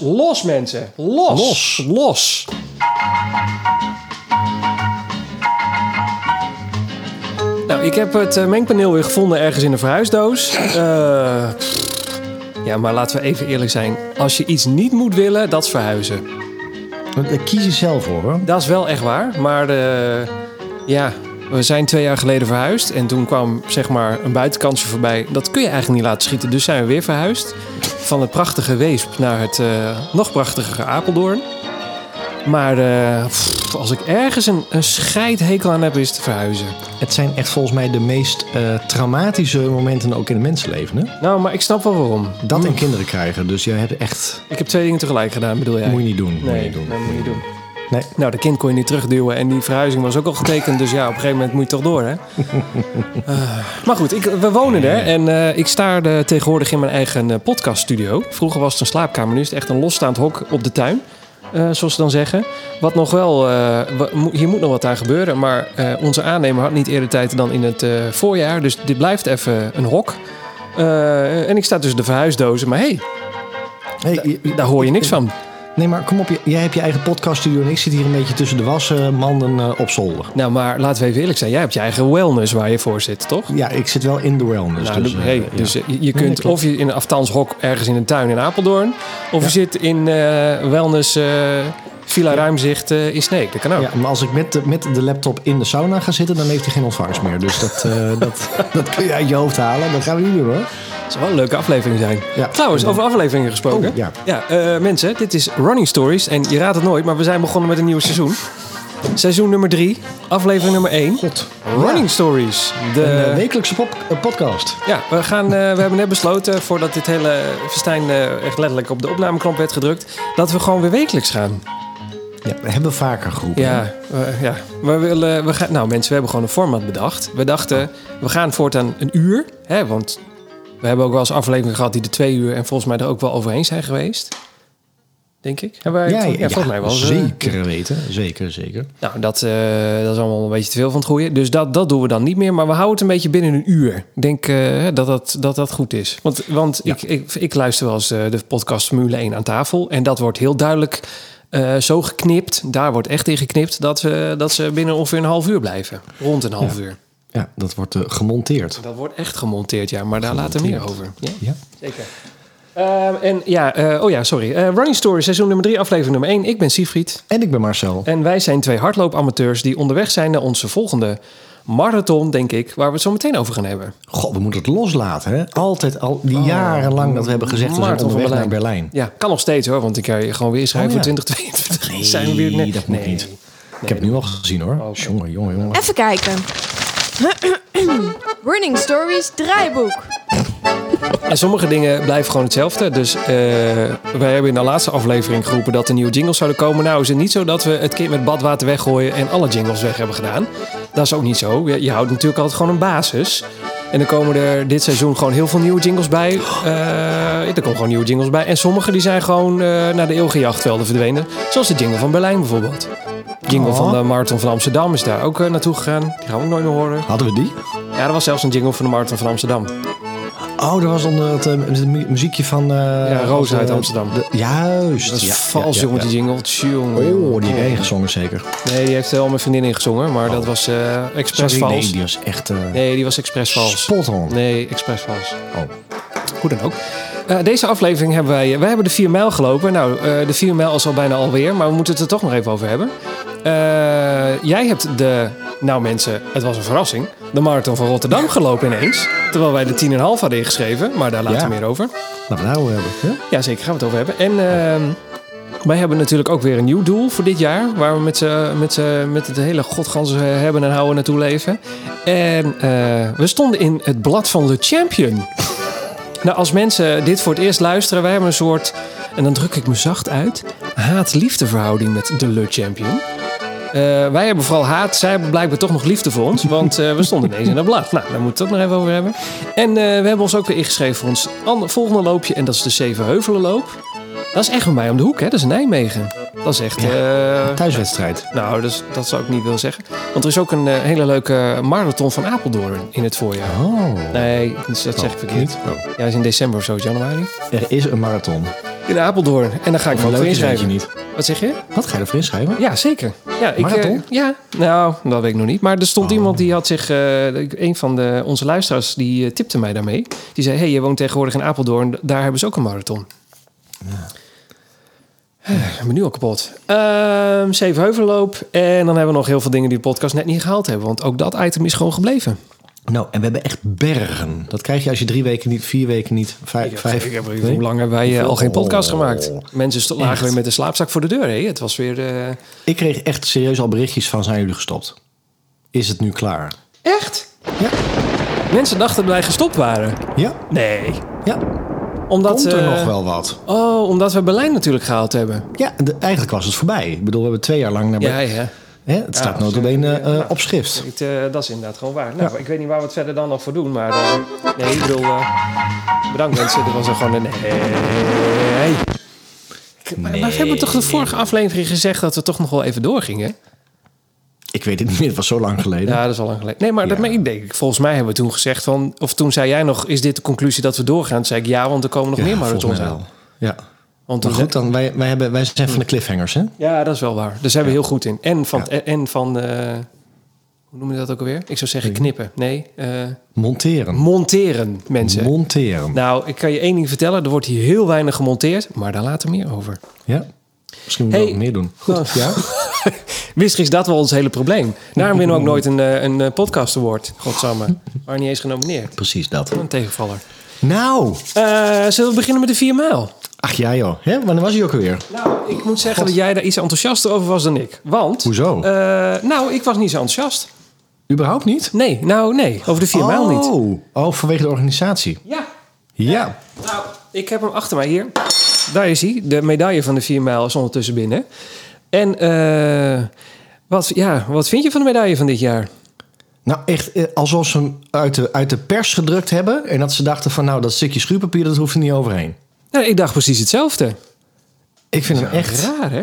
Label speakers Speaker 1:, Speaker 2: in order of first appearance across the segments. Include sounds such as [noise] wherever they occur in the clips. Speaker 1: Los, los mensen. Los.
Speaker 2: Los, los. Nou, ik heb het eh, mengpaneel weer gevonden ergens in een verhuisdoos. Eh, pff. ja, maar laten we even eerlijk zijn. Als je iets niet moet willen, dat is verhuizen.
Speaker 3: Want Daar kies je zelf voor hoor.
Speaker 2: Dat is wel echt waar. Maar eh, ja, we zijn twee jaar geleden verhuisd. En toen kwam zeg maar een buitenkantje voorbij. Dat kun je eigenlijk niet laten schieten. Dus zijn we weer verhuisd. Van het prachtige Weesp naar het eh, nog prachtigere Apeldoorn. Maar eh, pff, als ik ergens een, een scheidhekel aan heb, is het verhuizen.
Speaker 3: Het zijn echt volgens mij de meest eh, traumatische momenten ook in het mensenleven. Hè?
Speaker 2: Nou, maar ik snap wel waarom.
Speaker 3: Dat en kinderen krijgen. Dus jij hebt echt...
Speaker 2: Ik heb twee dingen tegelijk gedaan, bedoel jij?
Speaker 3: Moet je niet doen. moet je
Speaker 2: Nee,
Speaker 3: niet doen.
Speaker 2: nee, moet je niet doen.
Speaker 3: Nee.
Speaker 2: Nou, de kind kon je niet terugduwen en die verhuizing was ook al getekend. Dus ja, op een gegeven moment moet je toch door,
Speaker 3: [laughs]
Speaker 2: hè? Eh, maar goed, ik, we wonen er en eh, ik sta er tegenwoordig in mijn eigen eh, podcaststudio. Vroeger was het een slaapkamer, nu is het echt een losstaand hok op de tuin. eh, zoals ze dan zeggen. Wat nog wel, eh, wa- mo- hier moet nog wat aan gebeuren. Maar eh, onze aannemer had niet eerder tijd dan in het eh, voorjaar. Dus dit blijft even een hok. Eh, en ik sta tussen de verhuisdozen. Maar hé,
Speaker 3: Hey, je-
Speaker 2: hey, daar hoor je niks van.
Speaker 3: Nee, maar kom op. je- Jij hebt je eigen podcaststudio en ik zit hier een beetje tussen de wasmanden eh, op zolder.
Speaker 2: Nou, maar laten we even eerlijk zijn. Jij hebt je eigen wellness waar je voor zit, toch?
Speaker 3: Ja, ik zit wel in de wellness.
Speaker 2: Nou,
Speaker 3: dus, eh,
Speaker 2: hey,
Speaker 3: ja.
Speaker 2: dus eh, je- je kunt
Speaker 3: klopt.
Speaker 2: of je in een aftanshok ergens in een tuin in Apeldoorn... of je zit in eh, wellness eh, Villa Ruimzicht eh, in Sneek. Dat kan ook.
Speaker 3: Ja, maar als ik met de, met de laptop in de sauna ga zitten, dan heeft hij geen ontvangst meer. Dus dat, [laughs] eh, dat, dat kun je uit je hoofd halen. Dat gaan we niet doen hoor.
Speaker 2: Het zou wel een leuke aflevering zijn.
Speaker 3: Ja.
Speaker 2: Trouwens, over afleveringen gesproken.
Speaker 3: Oh, ja.
Speaker 2: eh, mensen, dit is Running Stories. En je raadt het nooit, maar we zijn begonnen met een nieuw [laughs] seizoen. Seizoen nummer 3, aflevering nummer 1.
Speaker 3: God.
Speaker 2: Running Stories. De...
Speaker 3: Een eh, wekelijkse pop- eh, podcast.
Speaker 2: Ja, we, gaan, eh, we hebben net besloten, voordat dit hele festijn eh, echt letterlijk op de opnameknop werd gedrukt, dat we gewoon weer wekelijks gaan.
Speaker 3: Ja, we hebben vaker groepen.
Speaker 2: Ja, eh, ja. We willen, we gaan, nou mensen, we hebben gewoon een format bedacht. We dachten, we gaan voortaan een uur, hè, want we hebben ook wel eens afleveringen gehad die de twee uur en volgens mij er ook wel overheen zijn geweest. Denk ik. Hebben wij het- volgens mij wel. eens, eh,
Speaker 3: zeker weten. Zeker, zeker.
Speaker 2: nou, dat, eh, dat is allemaal een beetje te veel van het goede. Dus dat, dat doen we dan niet meer. Maar we houden het een beetje binnen een uur. Ik denk eh, dat, dat, dat dat goed is. Want, want ik, ik, ik luister wel eens eh, de podcast Formule 1 aan tafel. En dat wordt heel duidelijk eh, zo geknipt. Daar wordt echt in geknipt dat, we, dat ze binnen ongeveer een half uur blijven. Rond een half uur.
Speaker 3: Ja, dat wordt eh, gemonteerd.
Speaker 2: Dat wordt echt gemonteerd, ja. Maar daar later meer over. Ja?
Speaker 3: Ja.
Speaker 2: Zeker. Ehm, en ja, eh, oh ja, sorry. Eh, Running Story, seizoen nummer 3, aflevering nummer 1. Ik ben Siegfried.
Speaker 3: En ik ben Marcel.
Speaker 2: En wij zijn twee hardloopamateurs die onderweg zijn naar onze volgende marathon, denk ik, waar we het zo meteen over gaan hebben.
Speaker 3: God, we moeten het loslaten. Hè? Altijd al die jarenlang dat we hebben gezegd... we zijn
Speaker 2: Oh, Maarten van
Speaker 3: onderweg naar
Speaker 2: Berlijn.
Speaker 3: Berlijn.
Speaker 2: Ja, kan nog steeds hoor, want ik kan je gewoon weer schrijven
Speaker 3: Oh, ja.
Speaker 2: voor [laughs] 2022.
Speaker 3: Nee,
Speaker 2: zijn we weer net.
Speaker 3: dat moet
Speaker 2: nee. Oh,
Speaker 3: niet. Ik heb het nu al gezien hoor.
Speaker 2: oké.
Speaker 3: Jongen, jongen, jongen.
Speaker 4: Even kijken. [clears throat] Running Stories draaiboek.
Speaker 2: En sommige dingen blijven gewoon hetzelfde. Dus eh, wij hebben in de laatste aflevering geroepen dat er nieuwe jingles zouden komen. Nou is het niet zo dat we het kind met badwater weggooien en alle jingles weg hebben gedaan. Dat is ook niet zo. Je, je houdt natuurlijk altijd gewoon een basis. En er komen er dit seizoen gewoon heel veel nieuwe jingles bij. Eh, er komen gewoon nieuwe jingles bij. En sommige die zijn gewoon eh, naar de eeuwige jachtvelden verdwenen. Zoals de jingle van Berlijn bijvoorbeeld. De jingle
Speaker 3: Oh.
Speaker 2: van de Marathon van Amsterdam is daar ook eh, naartoe gegaan. Die gaan we ook nooit meer horen.
Speaker 3: Hadden we die?
Speaker 2: Ja, er was zelfs een jingle van de Marathon van Amsterdam.
Speaker 3: Oh, dat was dan het, eh, het mu- muziekje van... eh,
Speaker 2: Roos
Speaker 3: van,
Speaker 2: uit
Speaker 3: eh,
Speaker 2: Amsterdam.
Speaker 3: de- juist.
Speaker 2: Dat is
Speaker 3: ja,
Speaker 2: vals,
Speaker 3: ja, ja,
Speaker 2: jongen,
Speaker 3: ja.
Speaker 2: die jingle. Tjonge,
Speaker 3: Oh, die heb jij gezongen zeker.
Speaker 2: Nee, die heeft wel mijn vriendin ingezongen, maar dat was eh expres
Speaker 3: Oh. Sorry,
Speaker 2: vals.
Speaker 3: nee, die was echt eh,
Speaker 2: Nee, die was expres vals.
Speaker 3: spot on.
Speaker 2: Nee, expres vals.
Speaker 3: Oh.
Speaker 2: Hoe dan ook. Eh, deze aflevering hebben wij... Wij hebben de 4 mijl gelopen. Nou, eh, de 4 mijl is al bijna alweer, maar we moeten het er toch nog even over hebben. Eh, jij hebt de... Nou mensen, het was een verrassing. De marathon van Rotterdam gelopen ineens. Terwijl wij de 10,5 hadden ingeschreven, maar daar later
Speaker 3: Ja.
Speaker 2: meer over.
Speaker 3: Laten we het daarover hebben. hè?
Speaker 2: Ja, zeker. Gaan we het over hebben. En ehm, wij hebben natuurlijk ook weer een nieuw doel voor dit jaar. Waar we met, z'n- met, z'n- met het hele godgans eh, hebben en houden naartoe leven. En eh, we stonden in het blad van Le Champion. nou, als mensen dit voor het eerst luisteren, wij hebben een soort... En dan druk ik me zacht uit. Haat-liefde verhouding met de Le Champion. Eh, wij hebben vooral haat, zij hebben blijkbaar toch nog liefde voor ons. Want eh, we stonden ineens in dat blad. Nou, daar moeten we het ook nog even over hebben. En eh, we hebben ons ook weer ingeschreven voor ons ander- volgende loopje. En dat is de Zevenheuvelenloop. Dat is echt bij mij om de hoek, hè? Dat is Nijmegen. Dat is echt... eh,
Speaker 3: Thuiswedstrijd.
Speaker 2: nou, dat, is- dat zou ik niet willen zeggen. Want er is ook een eh, hele leuke marathon van Apeldoorn in het voorjaar.
Speaker 3: Oh.
Speaker 2: Nee, dat zeg ik verkeerd.
Speaker 3: Oh.
Speaker 2: Ja, dat is in december of zo, januari.
Speaker 3: Er is een marathon.
Speaker 2: in Apeldoorn. En daar ga ik me ook
Speaker 3: Leuk
Speaker 2: voor
Speaker 3: is eentje
Speaker 2: inschrijven.
Speaker 3: niet.
Speaker 2: Wat zeg je?
Speaker 3: Wat ga je ervoor inschrijven?
Speaker 2: Ja, zeker. Ja, ik,
Speaker 3: Marathon?
Speaker 2: eh, ja, nou, dat weet ik nog niet. Maar er stond iemand die had zich... eh, een van de, onze luisteraars, die eh, tipte mij daarmee. Die zei, hey, je woont tegenwoordig in Apeldoorn. Daar hebben ze ook een marathon. Eh, Ik ben nu al kapot. Ehm Zevenheuvelloop. En dan hebben we nog heel veel dingen die de podcast net niet gehaald hebben. Want ook dat item is gewoon gebleven.
Speaker 3: Nou, en we hebben echt bergen. Dat krijg je als je drie weken niet, vier weken niet, vijf... vijf
Speaker 2: Ik heb
Speaker 3: nee?
Speaker 2: Hoe lang hebben wij eh, al geen podcast
Speaker 3: Oh.
Speaker 2: gemaakt? Mensen st- lagen
Speaker 3: Echt?
Speaker 2: weer met een slaapzak voor de deur. Hè? Het was weer... eh,
Speaker 3: Ik kreeg echt serieus al berichtjes van zijn jullie gestopt? Is het nu klaar?
Speaker 2: Echt?
Speaker 3: Ja.
Speaker 2: Mensen dachten dat wij gestopt waren.
Speaker 3: Ja,
Speaker 2: Nee.
Speaker 3: ja.
Speaker 2: Omdat,
Speaker 3: Komt er
Speaker 2: eh,
Speaker 3: nog wel wat?
Speaker 2: Oh, omdat we Berlijn natuurlijk gehaald hebben.
Speaker 3: Ja, de- eigenlijk was het voorbij. Ik bedoel, we hebben twee jaar lang naar...
Speaker 2: Ja, ja.
Speaker 3: Hè, het staat notabene eh op schrift.
Speaker 2: Ik, eh, dat is inderdaad gewoon waar. Nou, ik weet niet waar we het verder dan nog voor doen, maar... eh, nee, ik bedoel... eh, bedankt mensen, dit was er gewoon een... Nee. Ik- Maar, maar we hebben toch de vorige aflevering gezegd dat we toch nog wel even doorgingen?
Speaker 3: Ik weet het niet meer, het was zo lang geleden.
Speaker 2: Ja, dat is al lang geleden. Nee, maar dat
Speaker 3: Ja.
Speaker 2: meen ik denk ik. Volgens mij hebben we toen gezegd van... Of toen zei jij nog, is dit de conclusie dat we doorgaan? Toen zei ik ja, want er komen nog
Speaker 3: Ja,
Speaker 2: meer
Speaker 3: volgens
Speaker 2: marathons
Speaker 3: mij
Speaker 2: aan.
Speaker 3: wel. Ja.
Speaker 2: Want
Speaker 3: Maar
Speaker 2: toen
Speaker 3: goed, dan, wij, wij, hebben, wij zijn van de cliffhangers, hè?
Speaker 2: Ja, dat is wel waar. Daar zijn we heel goed in. En van,
Speaker 3: Ja.
Speaker 2: en van eh, hoe noem je dat ook alweer? Ik zou zeggen knippen. Nee, eh,
Speaker 3: Monteren.
Speaker 2: monteren, mensen.
Speaker 3: Monteren.
Speaker 2: nou, ik kan je één ding vertellen. Er wordt hier heel weinig gemonteerd, maar daar later meer over.
Speaker 3: Ja. Misschien moeten we
Speaker 2: Hey.
Speaker 3: dat meer doen. Goed,
Speaker 2: Nou. [laughs]
Speaker 3: ja?
Speaker 2: Misschien is dat wel ons hele probleem. Daarom winnen we ook nooit een, eh, een eh, podcast award. Godsamme. Maar niet eens genomineerd.
Speaker 3: Precies dat.
Speaker 2: Een tegenvaller.
Speaker 3: Nou,
Speaker 2: Eh, zullen we beginnen met de 4 mijl?
Speaker 3: ach ja joh. Hè? Wanneer was hij ook alweer?
Speaker 2: Nou, ik moet zeggen dat jij daar iets enthousiaster over was dan ik. Want...
Speaker 3: Hoezo?
Speaker 2: eh, nou, ik was niet zo enthousiast.
Speaker 3: Überhaupt niet?
Speaker 2: Nee, nou nee. Over de 4 mijl niet.
Speaker 3: Oh. Oh, vanwege de organisatie.
Speaker 2: Ja,
Speaker 3: Ja.
Speaker 2: Nou, ik heb hem achter mij hier. Daar is hij. De medaille van de 4 mijl is ondertussen binnen. En eh, wat, ja, wat vind je van de medaille van dit jaar?
Speaker 3: Nou, echt eh, alsof ze hem uit de, uit de pers gedrukt hebben. En dat ze dachten van, nou, dat stukje schuurpapier, dat hoeft er niet overheen.
Speaker 2: Nou, ik dacht precies hetzelfde.
Speaker 3: Ik vind hem echt...
Speaker 2: Raar, hè?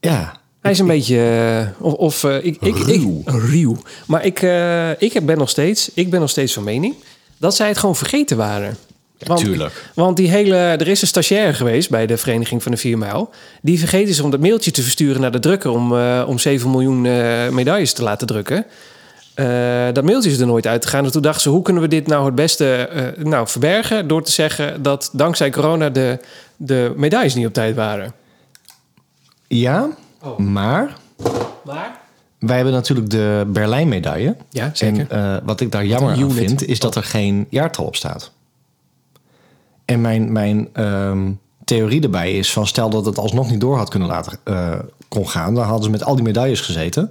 Speaker 3: Ja.
Speaker 2: Hij is een beetje... eh, of of eh, ik, ik,
Speaker 3: Ruw.
Speaker 2: Ik, ruw. Maar ik, eh, ik, ben nog steeds, ik ben nog steeds van mening dat zij het gewoon vergeten waren. Want,
Speaker 3: tuurlijk.
Speaker 2: Want die hele, er is een stagiair geweest bij de Vereniging van de 4 Mijl. Die vergeten ze om dat mailtje te versturen naar de drukker... om, eh, om 7 miljoen eh, medailles te laten drukken. Eh, dat mailtje is er nooit uitgegaan. En toen dachten ze, hoe kunnen we dit nou het beste eh, nou, verbergen... door te zeggen dat dankzij corona de, de medailles niet op tijd waren.
Speaker 3: Ja,
Speaker 2: Oh.
Speaker 3: maar...
Speaker 2: Maar?
Speaker 3: Wij hebben natuurlijk de Berlijn-medaille.
Speaker 2: Ja, zeker.
Speaker 3: En eh, wat ik daar jammer aan
Speaker 2: unit. Oh.
Speaker 3: vind, is dat er geen jaartal op staat. En mijn, mijn ehm, theorie erbij is van... stel dat het alsnog niet door had kunnen laten eh, kon gaan... dan hadden ze met al die medailles gezeten.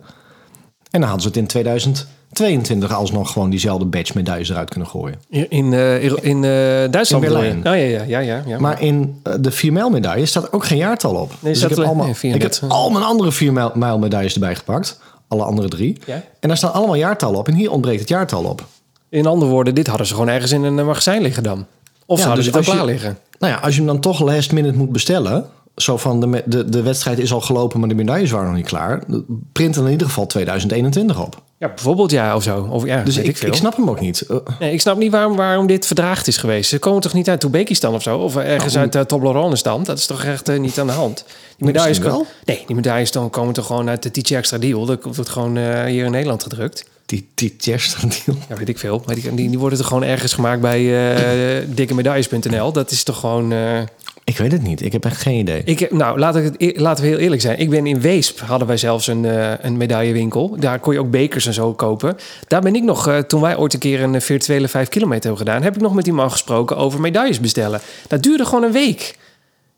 Speaker 3: En dan hadden ze het in 2022 alsnog gewoon diezelfde badge medailles eruit kunnen gooien.
Speaker 2: In, eh, in eh, Duitsland
Speaker 3: In
Speaker 2: bedoel je?
Speaker 3: Berlijn.
Speaker 2: Oh, ja, ja, ja, ja, ja.
Speaker 3: Maar in eh, de 4 mijl medaille staat ook geen jaartal op. dus
Speaker 2: staat
Speaker 3: ik heb,
Speaker 2: er-
Speaker 3: allemaal,
Speaker 2: nee, eh.
Speaker 3: ik heb
Speaker 2: 34.
Speaker 3: al mijn andere 4 mijl, mijl medailles erbij gepakt. Alle andere drie.
Speaker 2: Ja.
Speaker 3: En daar staan allemaal jaartallen op. En hier ontbreekt het jaartal op.
Speaker 2: In andere woorden, dit hadden ze gewoon ergens in een eh, magazijn liggen dan. Of ze
Speaker 3: Ja,
Speaker 2: hadden
Speaker 3: dus
Speaker 2: ze het al
Speaker 3: als
Speaker 2: klaar
Speaker 3: je-
Speaker 2: liggen.
Speaker 3: Nou ja, als je hem dan toch last minute moet bestellen... zo van de, me- de, de wedstrijd is al gelopen, maar de medailles waren nog niet klaar... print dan in ieder geval 2021 op.
Speaker 2: Ja, bijvoorbeeld ja of zo. Of, ja,
Speaker 3: Dus
Speaker 2: weet
Speaker 3: ik, ik,
Speaker 2: veel.
Speaker 3: snap hem ook niet. Eh,
Speaker 2: Nee, ik snap niet waarom, waarom dit verdraagd is geweest. Ze komen toch niet uit Toebekistan of zo? Of ergens uit eh, Toblerone-stand? Dat is toch echt eh, niet aan de hand? Die medailles,
Speaker 3: misschien
Speaker 2: ko- nee, die medailles dan komen toch gewoon uit de Tietje Extra Deal? Dat wordt gewoon eh, hier in Nederland gedrukt.
Speaker 3: die die
Speaker 2: [laughs]
Speaker 3: Chester deal.
Speaker 2: Ja, weet ik veel. Maar die, die, die worden er gewoon ergens gemaakt bij eh [laughs] dikkemedailles.nl. Dat is toch gewoon... eh,
Speaker 3: Ik weet het niet. Ik heb echt geen idee.
Speaker 2: Ik, nou, laat ik het, eer- laten we heel eerlijk zijn. Ik ben in Weesp, hadden wij zelfs een, eh, een medaillewinkel. Daar kon je ook bekers en zo kopen. Daar ben ik nog, eh, toen wij ooit een keer een eh, virtuele 5 kilometer hebben gedaan... heb ik nog met die man gesproken over medailles bestellen. Dat duurde gewoon een week.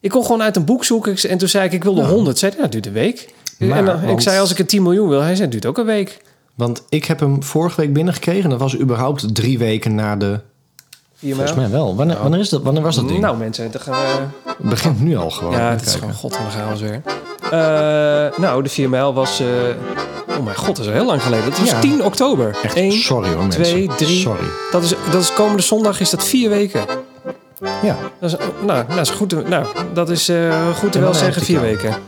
Speaker 2: Ik kon gewoon uit een boek zoeken en toen zei ik, ik wilde 100. Zei hij, nou, dat duurt een week.
Speaker 3: Maar,
Speaker 2: en dan, ik
Speaker 3: want-
Speaker 2: zei, als ik het 10 miljoen wil, hij zei, dat duurt ook een week.
Speaker 3: Want ik heb hem vorige week binnengekregen... en dat was überhaupt drie weken na de...
Speaker 2: Vier
Speaker 3: Volgens
Speaker 2: maanden.
Speaker 3: mij wel. Wanneer, wanneer, is dat, wanneer was dat ding?
Speaker 2: Nou mensen, dan gaan we...
Speaker 3: Het begint nu al gewoon.
Speaker 2: Ja,
Speaker 3: Even
Speaker 2: het is
Speaker 3: kijken.
Speaker 2: gewoon god van de chaos weer. Eh, nou, de 4 mijl was... eh, oh mijn god, dat is al heel lang geleden. Dat was
Speaker 3: Ja.
Speaker 2: 10 oktober.
Speaker 3: Echt,
Speaker 2: 1,
Speaker 3: sorry hoor mensen.
Speaker 2: 2, 3.
Speaker 3: Sorry.
Speaker 2: Dat is, dat is komende zondag is dat vier weken.
Speaker 3: Ja.
Speaker 2: Dat is, nou, nou, is goed, te- nou, dat is eh, goed te
Speaker 3: En
Speaker 2: wel
Speaker 3: wanneer
Speaker 2: zeggen,
Speaker 3: heb
Speaker 2: vier
Speaker 3: ik jou?
Speaker 2: weken.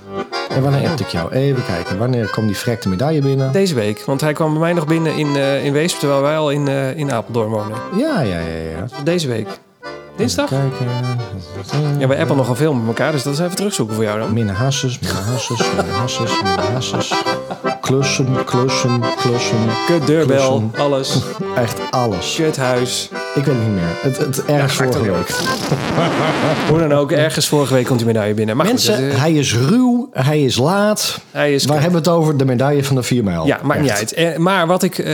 Speaker 3: En wanneer heb ik jou? Even kijken. Wanneer kwam die vrekte medaille binnen?
Speaker 2: Deze week, want hij kwam bij mij nog binnen in, eh in Weesp... terwijl wij al in, eh, in Apeldoorn wonen.
Speaker 3: Ja, ja, ja, ja.
Speaker 2: Deze week. Dinsdag?
Speaker 3: Kijken.
Speaker 2: Ja, bij Apple nogal veel met elkaar, dus dat is even terugzoeken voor jou dan.
Speaker 3: Minne hasses, minne hasses, minne hasses, minne hasses. Klussen, klussen, klussen.
Speaker 2: Kut deurbel,
Speaker 3: Klussen. [laughs]
Speaker 2: alles.
Speaker 3: Echt alles.
Speaker 2: Kut huis.
Speaker 3: Ik weet het niet meer. Het, het erg vorige week.
Speaker 2: Hoe dan ook, ergens vorige week komt die medaille binnen. Maar
Speaker 3: Mensen,
Speaker 2: goed, dat, eh,
Speaker 3: hij is ruw, hij is laat.
Speaker 2: hij is
Speaker 3: Waar hebben we het over? De medaille van de 4 mijl.
Speaker 2: Ja, maakt niet
Speaker 3: Echt.
Speaker 2: uit. Eh, maar wat ik, eh,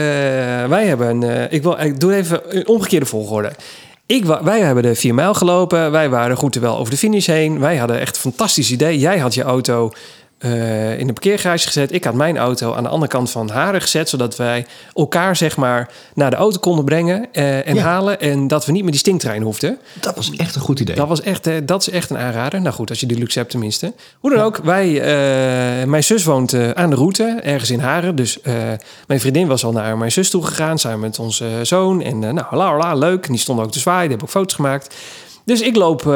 Speaker 2: wij hebben, een, eh, ik, wil, ik doe even een omgekeerde volgorde. Ik, wa- wij hebben de 4 mijl gelopen. Wij waren goed en wel over de finish heen. Wij hadden echt een fantastisch idee. Jij had je auto eh, in de parkeergarage gezet. Ik had mijn auto aan de andere kant van haren gezet. Zodat wij elkaar zeg maar naar de auto konden brengen eh, en
Speaker 3: Ja.
Speaker 2: halen. En dat we niet met die stinktrein hoefden.
Speaker 3: Dat was echt een goed idee.
Speaker 2: Dat, was echt, eh, dat is echt een aanrader. Nou goed, als je die luxe hebt tenminste. Hoe dan ook, wij, eh, mijn zus woont eh, aan de route, ergens in Haren. Dus eh, mijn vriendin was al naar mijn zus toe gegaan, samen met onze eh, zoon. En eh, nou, la, la, leuk. En die stond ook te zwaaien, die heb ik foto's gemaakt. Dus ik loop, eh,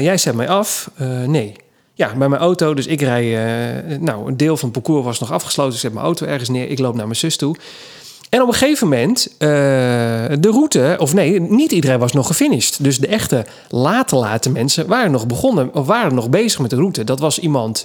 Speaker 2: jij zet mij af. Eh, nee. Ja, bij mijn auto. Dus ik rij, eh, nou, een deel van het parcours was nog afgesloten. Dus Ik zet mijn auto ergens neer. Ik loop naar mijn zus toe. En op een gegeven moment, eh, de route, of nee, niet iedereen was nog gefinished. Dus de echte late late mensen waren nog begonnen, of waren nog bezig met de route. Dat was iemand,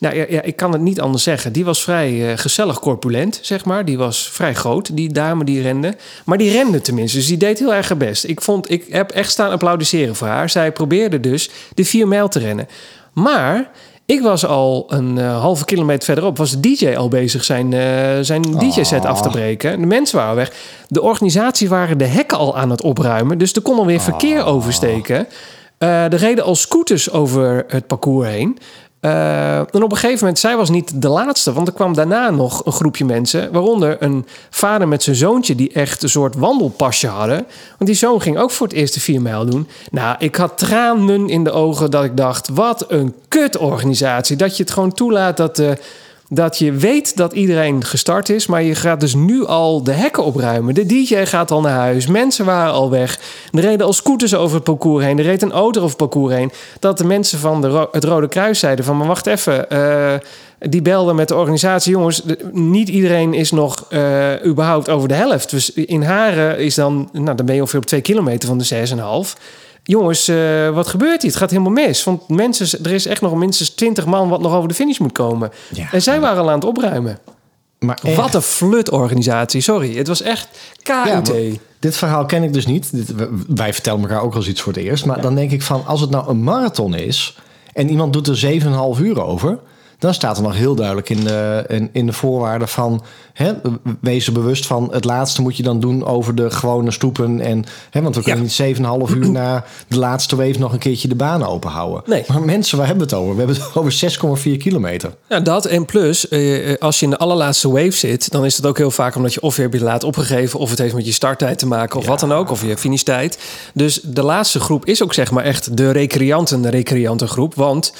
Speaker 2: nou ja, ja ik kan het niet anders zeggen. Die was vrij eh, gezellig corpulent, zeg maar. Die was vrij groot, die dame die rende. Maar die rende tenminste, dus die deed heel erg haar best. Ik, vond, ik heb echt staan applaudisseren voor haar. Zij probeerde dus de 4 mijl te rennen. Maar... Ik was al een eh, halve kilometer verderop, was de DJ al bezig zijn, eh, zijn DJ-set af te breken. De mensen waren weg. De organisatie waren de hekken al aan het opruimen. Dus er kon alweer verkeer oversteken. Eh, er reden al scooters over het parcours heen. Eh, en op een gegeven moment, zij was niet de laatste, want er kwam daarna nog een groepje mensen, waaronder een vader met zijn zoontje, die echt een soort wandelpasje hadden. Want die zoon ging ook voor het eerst de 4 mijl doen. Nou, ik had tranen in de ogen dat ik dacht, wat een kutorganisatie. Dat je het gewoon toelaat dat, eh, dat je weet dat iedereen gestart is, maar je gaat dus nu al de hekken opruimen. De DJ gaat al naar huis, mensen waren al weg. Er reden al scooters over het parcours heen, er reed een auto over het parcours heen. Dat de mensen van de Ro- het Rode Kruis zeiden van, maar wacht even... eh, die belden met de organisatie, jongens, de- niet iedereen is nog eh, überhaupt over de helft. Dus in Haren is dan, nou dan ben je ongeveer op twee kilometer van de 6,5. Jongens, eh, wat gebeurt hier? Het gaat helemaal mis. Want mensen, er is echt nog minstens 20 man wat nog over de finish moet komen.
Speaker 3: Ja.
Speaker 2: En zij waren al aan het opruimen.
Speaker 3: Maar echt.
Speaker 2: Wat een flutorganisatie, sorry. Het was echt
Speaker 3: Ja,
Speaker 2: KUT.
Speaker 3: maar dit verhaal ken ik dus niet. Dit- w- wij vertellen elkaar ook wel eens iets voor het eerst. Maar dan denk ik van, als het nou een marathon is... en iemand doet er 7,5 uur over... dan staat er nog heel duidelijk in de, in, in de voorwaarden van... Hè, wees er bewust van, het laatste moet je dan doen over de gewone stoepen. En, hè, want we kunnen niet 7,5 uur na de laatste wave nog een keertje de baan open houden.
Speaker 2: Nee.
Speaker 3: Maar mensen, waar hebben we het over? We hebben het [laughs] over 6,4 kilometer.
Speaker 2: Ja, dat en plus, eh, eh, als je in de allerlaatste wave zit, dan is dat ook heel vaak omdat je of weer hebt je laat opgegeven, of het heeft met je starttijd te maken, of wat dan ook, of je finishtijd. Dus de laatste groep is ook zeg maar echt de recreanten, de recreantengroep. Want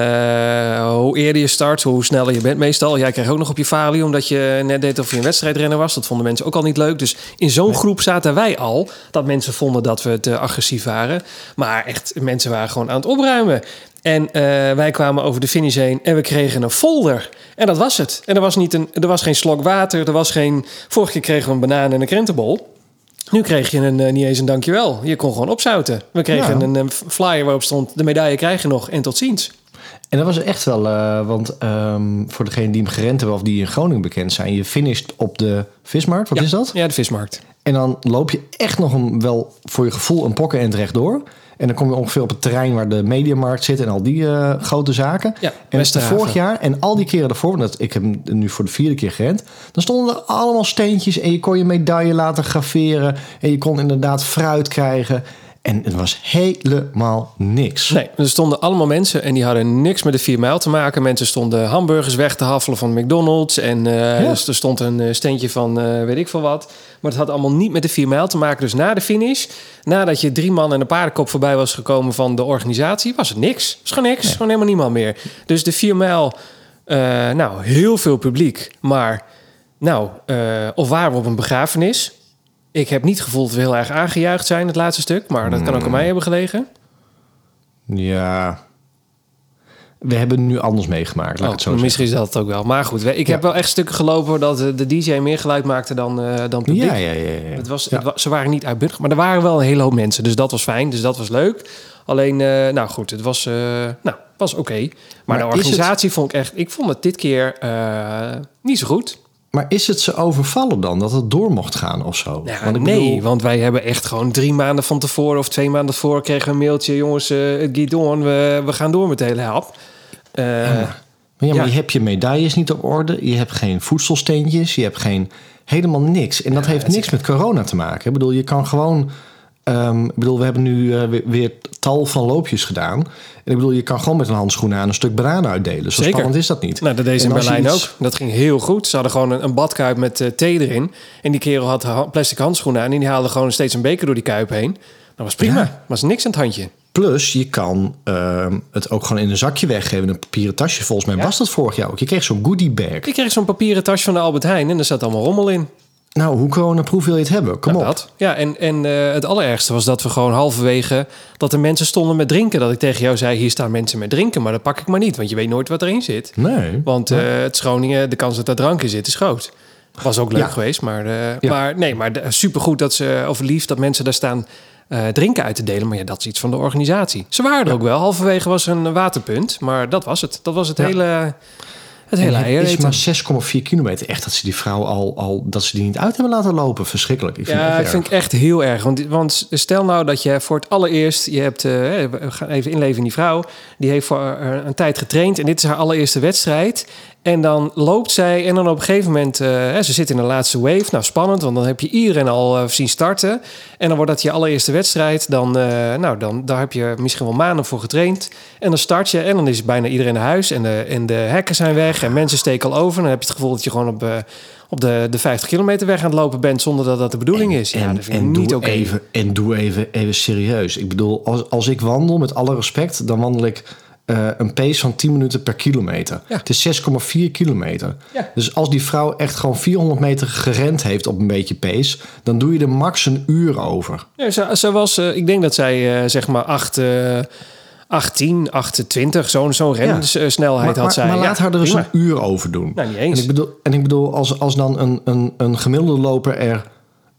Speaker 2: eh, hoe eerder je start, hoe sneller je bent meestal. Jij kreeg ook nog op je falie omdat je net deed of je een wedstrijdrenner was. Dat vonden mensen ook al niet leuk. Dus in zo'n groep zaten wij al, dat mensen vonden dat we te agressief waren. Maar echt, mensen waren gewoon aan het opruimen. En eh, wij kwamen over de finish heen en we kregen een folder. En dat was het. En er was, niet een, er was geen slok water, er was geen... Vorige keer kregen we een banaan en een krentenbol. Nu kreeg je een, eh, niet eens een dankjewel. Je kon gewoon opzouten. We kregen
Speaker 3: Ja.
Speaker 2: een, eh, flyer waarop stond... de medaille krijg je nog en tot ziens.
Speaker 3: En dat was echt wel, eh, want ehm, voor degenen die hem gerend hebben of die in Groningen bekend zijn, je finisht op de vismarkt, wat
Speaker 2: Ja.
Speaker 3: is dat?
Speaker 2: Ja, de vismarkt.
Speaker 3: En dan loop je echt nog een, wel voor je gevoel een pokkenend rechtdoor. En dan kom je ongeveer op het terrein waar de mediamarkt zit en al die eh, grote zaken.
Speaker 2: Ja,
Speaker 3: en
Speaker 2: Westerhaven.
Speaker 3: vorig jaar en al die keren daarvoor, want dat- ik heb hem nu voor de vierde keer gerend, dan stonden er allemaal steentjes en je kon je medaille laten graveren en je kon inderdaad fruit krijgen. En het was helemaal niks.
Speaker 2: Nee, er stonden allemaal mensen en die hadden niks met de 4 mijl te maken. Mensen stonden hamburgers weg te haffelen van McDonald's. En eh,
Speaker 3: Ja.
Speaker 2: dus er stond een eh, steentje van eh, weet ik veel wat. Maar het had allemaal niet met de 4 mijl te maken. Dus na de finish, nadat je drie man en een paardenkop voorbij was gekomen van de organisatie, was het niks. Het was gewoon niks. Gewoon helemaal niemand meer. Dus de 4 mijl, eh, nou, heel veel publiek. Maar nou, eh, of waren we op een begrafenis? Ik heb niet gevoeld dat we heel erg aangejuicht zijn, het laatste stuk. Maar dat kan ook aan mij hebben gelegen.
Speaker 3: Ja. we hebben het nu anders meegemaakt, laat ik
Speaker 2: Oh,
Speaker 3: het zo zeggen.
Speaker 2: misschien is dat het ook wel. Maar goed, we- ik heb wel echt stukken gelopen dat eh, de DJ meer geluid maakte dan, eh dan publiek.
Speaker 3: Ja, ja, ja. ja, ja.
Speaker 2: Het was, het wa- ze waren niet uitbundig, maar er waren wel een hele hoop mensen. Dus dat was fijn, dus dat was leuk. Alleen, eh, nou goed, het was, eh, nou, was oké. Maar,
Speaker 3: Maar
Speaker 2: de
Speaker 3: is het-
Speaker 2: organisatie vond ik echt... Ik vond het dit keer eh, niet zo goed.
Speaker 3: Maar is het ze overvallen dan dat het door mocht gaan of zo?
Speaker 2: Ja,
Speaker 3: Want ik
Speaker 2: Nou, nee,
Speaker 3: bedoel-
Speaker 2: want wij hebben echt gewoon drie maanden van tevoren... of twee maanden voor kregen we een mailtje... jongens, eh, het gaat door, we, we gaan door met de hele hap. Eh,
Speaker 3: Maar ja,
Speaker 2: Ja.
Speaker 3: maar je hebt je medailles niet op orde. Je hebt geen voedselsteentjes. Je hebt geen, helemaal niks. En dat heeft niks met corona te maken. Ik bedoel, je kan gewoon... ehm, ik bedoel, we hebben nu eh, weer, weer tal van loopjes gedaan. En ik bedoel, je kan gewoon met een handschoen aan een stuk banaan uitdelen. Zo
Speaker 2: Zeker.
Speaker 3: spannend is dat niet.
Speaker 2: Nou, dat deed ze in
Speaker 3: En als je
Speaker 2: Berlijn
Speaker 3: iets-
Speaker 2: ook. Dat ging heel goed. Ze hadden gewoon een, een badkuip met eh, thee erin. En die kerel had ha- plastic handschoenen aan. En die haalde gewoon steeds een beker door die kuip heen. Dat was prima. Was niks aan het handje.
Speaker 3: Plus, je kan ehm, het ook gewoon in een zakje weggeven. Een papieren tasje. Volgens mij was dat vorig jaar ook. Je kreeg zo'n goodie bag.
Speaker 2: Ik kreeg zo'n papieren tas van de Albert Heijn. En er zat allemaal rommel in.
Speaker 3: Nou, hoe coronaproof wil je het hebben? Kom
Speaker 2: Nou,
Speaker 3: op.
Speaker 2: dat. Ja, en, en eh, het allerergste was dat we gewoon halverwege... dat er mensen stonden met drinken. Dat ik tegen jou zei, hier staan mensen met drinken. Maar dat pak ik maar niet, want je weet nooit wat erin zit.
Speaker 3: Nee.
Speaker 2: Want eh, het is Groningen, de kans dat daar drank in zit, is groot. Was ook leuk
Speaker 3: Ja.
Speaker 2: geweest, maar, eh, maar nee, maar de- supergoed dat ze, of lief dat mensen daar staan eh, drinken uit te delen. Maar ja, dat is iets van de organisatie. Ze waren er ook wel. Halverwege was er een waterpunt, maar dat was het. Dat was het
Speaker 3: Ja.
Speaker 2: hele, het
Speaker 3: En
Speaker 2: hele eier
Speaker 3: het is
Speaker 2: eten.
Speaker 3: maar 6,4 kilometer. Echt dat ze die vrouw al, al dat ze die niet uit hebben laten lopen. Verschrikkelijk. Ik vind
Speaker 2: Ja,
Speaker 3: het
Speaker 2: dat
Speaker 3: echt
Speaker 2: vind ik echt heel erg. Want, want stel nou dat je voor het allereerst... Je hebt, eh, we gaan even inleven in die vrouw. Die heeft voor eh, een tijd getraind. En dit is haar allereerste wedstrijd. En dan loopt zij. En dan op een gegeven moment... eh, hè, ze zit in de laatste wave. Nou, spannend. Want dan heb je iedereen al eh, zien starten. En dan wordt dat je allereerste wedstrijd. Dan, eh, nou, dan, daar heb je misschien wel maanden voor getraind. En dan start je. En dan is bijna iedereen naar huis. En de, en de hekken zijn weg. En mensen steken al over. En dan heb je het gevoel dat je gewoon op... eh, op de, de 50 kilometer weg aan het lopen bent zonder dat dat de bedoeling is. Dus ja, dat vind ik niet
Speaker 3: doe
Speaker 2: oké.
Speaker 3: even, en doe even, even serieus. Ik bedoel, als, als ik wandel, met alle respect, dan wandel ik eh, een pace van 10 minuten per kilometer.
Speaker 2: Ja.
Speaker 3: Het is 6,4 kilometer.
Speaker 2: Ja.
Speaker 3: Dus als die vrouw echt gewoon 400 meter gerend heeft op een beetje pace, dan doe je er max een uur over.
Speaker 2: Nee, ze, ze was, eh, ik denk dat zij eh, zeg maar 8, eh 18, 28, zo'n zo'n rensnelheid had
Speaker 3: Maar, maar,
Speaker 2: Oh, zij.
Speaker 3: maar
Speaker 2: Ja,
Speaker 3: laat haar er eens
Speaker 2: prima.
Speaker 3: een uur over doen.
Speaker 2: Nou, niet eens.
Speaker 3: En ik bedoel, en ik bedoel als, als dan een, een, een gemiddelde loper er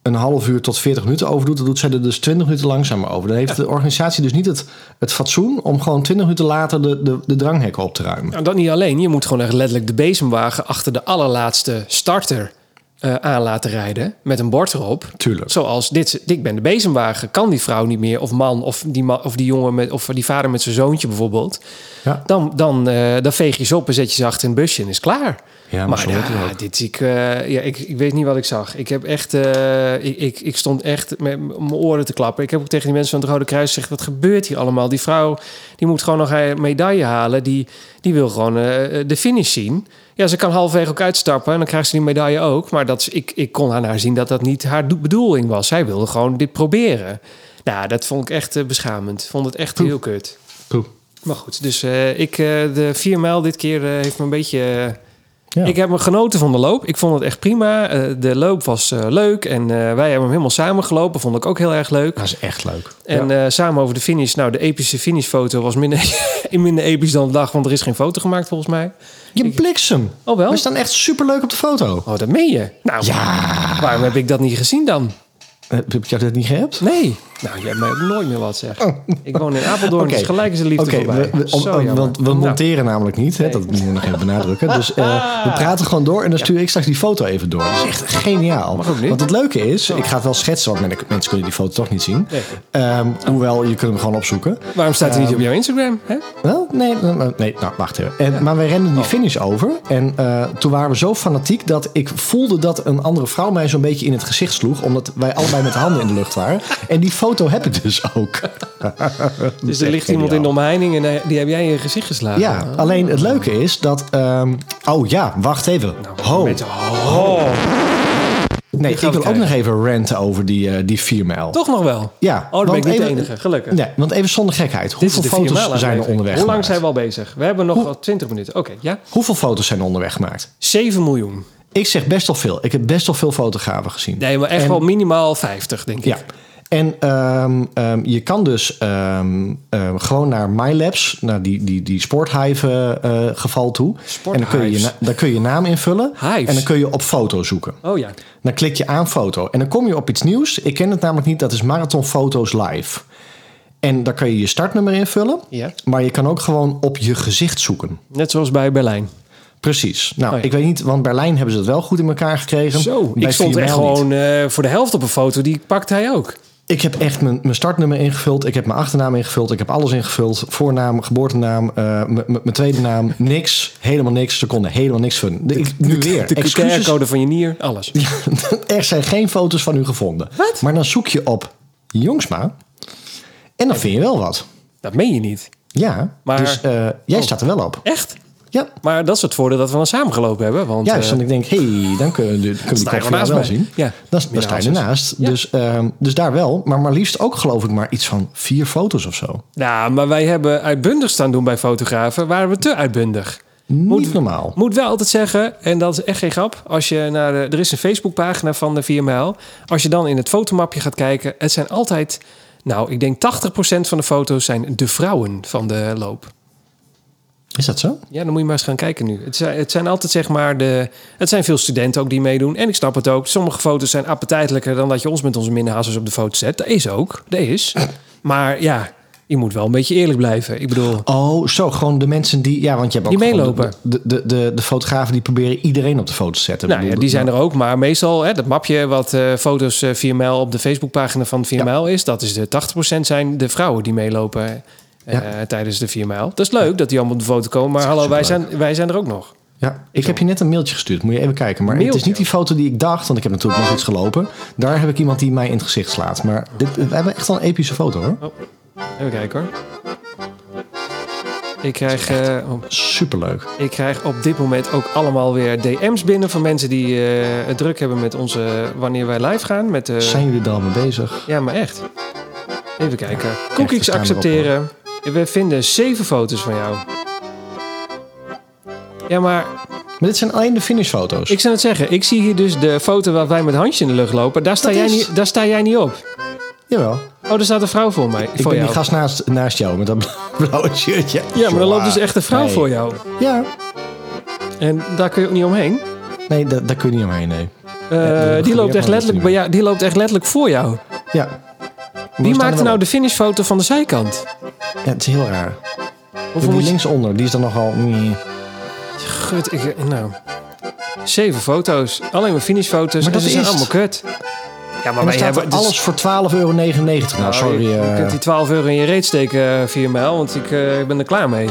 Speaker 3: een half uur tot 40 minuten over doet, dan doet zij er dus 20 minuten langzamer over. Dan heeft de organisatie dus niet het, het fatsoen om gewoon 20 minuten later de, de, de dranghekken op te ruimen.
Speaker 2: Nou, dat niet alleen. Je moet gewoon echt letterlijk de bezemwagen achter de allerlaatste starter eh, aan laten rijden. Met een bord erop.
Speaker 3: Tuurlijk.
Speaker 2: Zoals dit, ik ben de bezemwagen. Kan die vrouw niet meer, of man, of die, ma- of die jongen, met, of die vader met zijn zoontje bijvoorbeeld.
Speaker 3: Ja.
Speaker 2: Dan, dan, eh, dan veeg je ze op en zet je ze achter een busje en is klaar.
Speaker 3: Ja, maar zo wordt het ook.
Speaker 2: dit, ik, eh, ja, ik, ik weet niet wat ik zag. Ik, heb echt, eh, ik, ik, ik stond echt met m- mijn oren te klappen. Ik heb ook tegen die mensen van het Rode Kruis gezegd... wat gebeurt hier allemaal? Die vrouw die moet gewoon nog een medaille halen. Die, die wil gewoon eh, eh, de finish zien. Ja, ze kan halverwege ook uitstappen en dan krijgt ze die medaille ook. Maar dat, is- ik, ik kon aan haar zien dat dat niet haar do- bedoeling was. Zij wilde gewoon dit proberen. Nou, dat vond ik echt eh, beschamend. Vond het echt heel kut.
Speaker 3: Poeh.
Speaker 2: Maar goed, dus eh, ik, eh, de 4 mijl dit keer eh, heeft me een beetje... eh,
Speaker 3: Ja.
Speaker 2: ik heb me genoten van de loop. Ik vond het echt prima. Eh, de loop was eh, leuk. En eh, wij hebben hem helemaal samen gelopen. Vond ik ook heel erg leuk.
Speaker 3: Dat is echt leuk.
Speaker 2: En eh, samen over de finish. Nou, de epische finishfoto was minder, [laughs] minder episch dan de dag. Want er is geen foto gemaakt volgens mij.
Speaker 3: Je bliksem.
Speaker 2: Oh wel?
Speaker 3: We staan echt superleuk op de foto.
Speaker 2: Oh, dat meen je? Nou,
Speaker 3: Ja.
Speaker 2: waarom heb ik dat niet gezien dan?
Speaker 3: Eh, Heb ik jou dat niet gehebt?
Speaker 2: Nee. Nou, jij hebt mij ook nooit meer wat zeg. Ik woon in Apeldoorn,
Speaker 3: Oh. Oké.
Speaker 2: dus gelijk is de liefde
Speaker 3: Oké,
Speaker 2: voorbij.
Speaker 3: we- we- om-
Speaker 2: Zo
Speaker 3: om-
Speaker 2: jammer.
Speaker 3: want we
Speaker 2: Nou,
Speaker 3: monteren namelijk niet. Hè, Dat moeten we nog even benadrukken.
Speaker 2: [laughs]
Speaker 3: Dus eh, we praten gewoon door en dan stuur ik straks die foto even door. Dat is echt geniaal.
Speaker 2: ook niet.
Speaker 3: Want het leuke is, ik ga het wel schetsen, want men- mensen kunnen die foto toch niet zien.
Speaker 2: Nee.
Speaker 3: Ehm, hoewel, je kunt hem gewoon opzoeken.
Speaker 2: waarom staat hij niet op
Speaker 3: Ehm,
Speaker 2: jouw Instagram? Hè?
Speaker 3: Wel? Nee, nee, nee, nee, nou, wacht even. En, Maar wij renden
Speaker 2: Oh.
Speaker 3: die finish over. En eh, toen waren we zo fanatiek dat ik voelde dat een andere vrouw mij zo'n beetje in het gezicht sloeg. Omdat wij allebei met de handen in de lucht waren. En die foto heb ik dus ook.
Speaker 2: Dus
Speaker 3: [laughs]
Speaker 2: er
Speaker 3: echt
Speaker 2: ligt iemand in de
Speaker 3: geniaal.
Speaker 2: omheining en eh, die heb jij in je gezicht geslagen.
Speaker 3: Ja, alleen het leuke is dat... ehm, oh ja, wacht even. Ho.
Speaker 2: Mensen, oh,
Speaker 3: Nee, ik
Speaker 2: gaan
Speaker 3: wil
Speaker 2: we
Speaker 3: ook
Speaker 2: kijken.
Speaker 3: nog even ranten over die, eh die 4 mijl.
Speaker 2: toch nog wel?
Speaker 3: Ja.
Speaker 2: Oh, dan ben
Speaker 3: want
Speaker 2: ik niet de
Speaker 3: even-
Speaker 2: enige, gelukkig.
Speaker 3: Nee, want even zonder gekheid.
Speaker 2: Dit is
Speaker 3: Hoeveel
Speaker 2: de 4 mijl
Speaker 3: foto's zijn er
Speaker 2: aflevering.
Speaker 3: onderweg
Speaker 2: Hoe lang
Speaker 3: gemaakt?
Speaker 2: zijn we al bezig? We hebben nog wel 20 minuten. Oké, ja.
Speaker 3: Hoeveel foto's zijn er onderweg gemaakt?
Speaker 2: 7 miljoen.
Speaker 3: Ik zeg best wel veel. Ik heb best wel veel fotografen gezien.
Speaker 2: Nee, maar echt wel minimaal 50, denk ik.
Speaker 3: Ja. En ehm, ehm, je kan dus ehm, ehm, gewoon naar MyLabs, naar die, die, die sporthive eh, geval toe. En dan kun, je je,
Speaker 2: Sporthives.
Speaker 3: na- dan kun je je naam invullen.
Speaker 2: Hives.
Speaker 3: En dan kun je op foto zoeken.
Speaker 2: Oh ja.
Speaker 3: Dan klik je aan foto. En dan kom je op iets nieuws. Ik ken het namelijk niet. Dat is Marathon Foto's Live. En daar kan je je startnummer invullen.
Speaker 2: ja.
Speaker 3: Maar je kan ook gewoon op je gezicht zoeken.
Speaker 2: Net zoals bij Berlijn.
Speaker 3: Precies. Nou,
Speaker 2: Oh ja.
Speaker 3: ik weet niet, want Berlijn hebben ze het wel goed in elkaar gekregen. Bij
Speaker 2: ik stond
Speaker 3: 4ML
Speaker 2: echt
Speaker 3: niet.
Speaker 2: gewoon eh, voor de helft op een foto. Die pakte hij ook.
Speaker 3: Ik heb echt mijn, mijn startnummer ingevuld. Ik heb mijn achternaam ingevuld. Ik heb alles ingevuld. Voornaam, geboortenaam, eh, m- m- mijn tweede naam. [laughs] Niks. Helemaal niks. Ze konden helemaal niks van. Ik, nu weer.
Speaker 2: De
Speaker 3: Excuses.
Speaker 2: QR-code van je nier, alles.
Speaker 3: [laughs] Er zijn geen foto's van u gevonden.
Speaker 2: Wat?
Speaker 3: Maar dan zoek je op Jongsma. En dan vind je wel wat.
Speaker 2: Dat meen je niet.
Speaker 3: Ja.
Speaker 2: Maar-
Speaker 3: dus eh, jij
Speaker 2: Oh.
Speaker 3: staat er wel op.
Speaker 2: Echt?
Speaker 3: Ja.
Speaker 2: Maar dat is het voordeel dat we wel samengelopen hebben. Want,
Speaker 3: Juist,
Speaker 2: eh,
Speaker 3: want ik denk, hé, hey, dan kunnen we de- kunnen we
Speaker 2: sta
Speaker 3: die
Speaker 2: je
Speaker 3: koffie wel
Speaker 2: naast mij.
Speaker 3: zien.
Speaker 2: Ja.
Speaker 3: Dan, dan sta je
Speaker 2: Minderhaalsels.
Speaker 3: ernaast.
Speaker 2: Ja.
Speaker 3: Dus, ehm, dus daar wel. Maar maar liefst ook geloof ik maar iets van vier foto's of zo.
Speaker 2: nou, maar wij hebben uitbundig staan doen bij fotografen. Waren we te uitbundig.
Speaker 3: Niet
Speaker 2: Moet-
Speaker 3: normaal.
Speaker 2: Moet wel altijd zeggen, en dat is echt geen grap. Als je naar de, er is een Facebookpagina van de 4 mijl. Als je dan in het fotomapje gaat kijken, het zijn altijd, nou, ik denk 80% van de foto's zijn de vrouwen van de loop.
Speaker 3: Is dat zo?
Speaker 2: Ja, dan moet je maar eens gaan kijken nu. Het zijn, het zijn altijd zeg maar de. Het zijn veel studenten ook die meedoen. En ik snap het ook. Sommige foto's zijn appetijtelijker dan dat je ons met onze minderhazers op de foto zet. Dat is ook. Dat is. Maar ja, je moet wel een beetje eerlijk blijven. Ik bedoel,
Speaker 3: Oh, zo. Gewoon de mensen die... Ja, want je hebt ook
Speaker 2: Die
Speaker 3: gewoon
Speaker 2: meelopen.
Speaker 3: De, de, de, de, de fotografen die proberen iedereen op de foto te zetten.
Speaker 2: nou
Speaker 3: Ik
Speaker 2: ja,
Speaker 3: bedoel,
Speaker 2: die zijn er ook. Maar meestal, hè, dat mapje wat eh, foto's eh, 4ML op de Facebookpagina van 4ML is, dat is de 80% zijn de vrouwen die meelopen eh, tijdens de 4ML. Dat is leuk dat die allemaal op de foto komen. Maar hallo, wij zijn, wij zijn er ook nog.
Speaker 3: Ja, ik heb je net een mailtje gestuurd. Moet je even kijken. Maar het is
Speaker 2: Mailtje?
Speaker 3: niet die foto die ik dacht. Want ik heb natuurlijk nog iets gelopen. Daar heb ik iemand die mij in het gezicht slaat. Maar dit, we hebben echt wel een epische foto hoor.
Speaker 2: Even kijken hoor. Ik krijg, eh, oh,
Speaker 3: Superleuk.
Speaker 2: ik krijg op dit moment ook allemaal weer DM's binnen van mensen die eh, het druk hebben met onze wanneer wij live gaan. Met, eh,
Speaker 3: Zijn jullie er al mee bezig?
Speaker 2: Ja, maar echt. Even kijken.
Speaker 3: we
Speaker 2: Cookies
Speaker 3: staan erop,
Speaker 2: accepteren. We vinden zeven foto's van jou. Ja, maar
Speaker 3: Maar dit zijn alleen de finishfoto's.
Speaker 2: ik zou het zeggen. Ik zie hier dus de foto waar wij met handje in de lucht lopen. Daar sta,
Speaker 3: Dat
Speaker 2: jij
Speaker 3: is-
Speaker 2: niet, daar sta jij niet op.
Speaker 3: Jawel.
Speaker 2: Oh, daar staat een vrouw voor mij.
Speaker 3: Ik
Speaker 2: voor
Speaker 3: ben
Speaker 2: jou.
Speaker 3: die gast naast, naast jou met dat [laughs] blauwe shirtje.
Speaker 2: Ja, maar er loopt dus
Speaker 3: Zwaar.
Speaker 2: echt een vrouw
Speaker 3: Nee.
Speaker 2: voor jou.
Speaker 3: Ja.
Speaker 2: En daar kun je ook niet omheen.
Speaker 3: Nee, da- daar kun je niet omheen, nee.
Speaker 2: Eh,
Speaker 3: Ja, dat
Speaker 2: die, loopt
Speaker 3: gebeurt
Speaker 2: echt
Speaker 3: maar
Speaker 2: letterlijk bij
Speaker 3: niet
Speaker 2: jou, die loopt echt letterlijk voor jou.
Speaker 3: Ja.
Speaker 2: Wie
Speaker 3: maakt
Speaker 2: maakte nou de finishfoto van de zijkant?
Speaker 3: Ja, het is heel raar.
Speaker 2: Of
Speaker 3: die
Speaker 2: moet je...
Speaker 3: linksonder, die is dan nogal... nee.
Speaker 2: Gut, ik, nou... Zeven foto's. Alleen maar finishfoto's.
Speaker 3: Maar
Speaker 2: en
Speaker 3: dat
Speaker 2: ze zijn
Speaker 3: is het.
Speaker 2: allemaal kut. Ja, maar
Speaker 3: En dan staat er
Speaker 2: dus-
Speaker 3: alles voor 12,99 euro. Nou, sorry.
Speaker 2: Je,
Speaker 3: eh,
Speaker 2: je kunt die 12 euro in je reet steken, 4 mijl, want ik, eh, ik ben er klaar mee.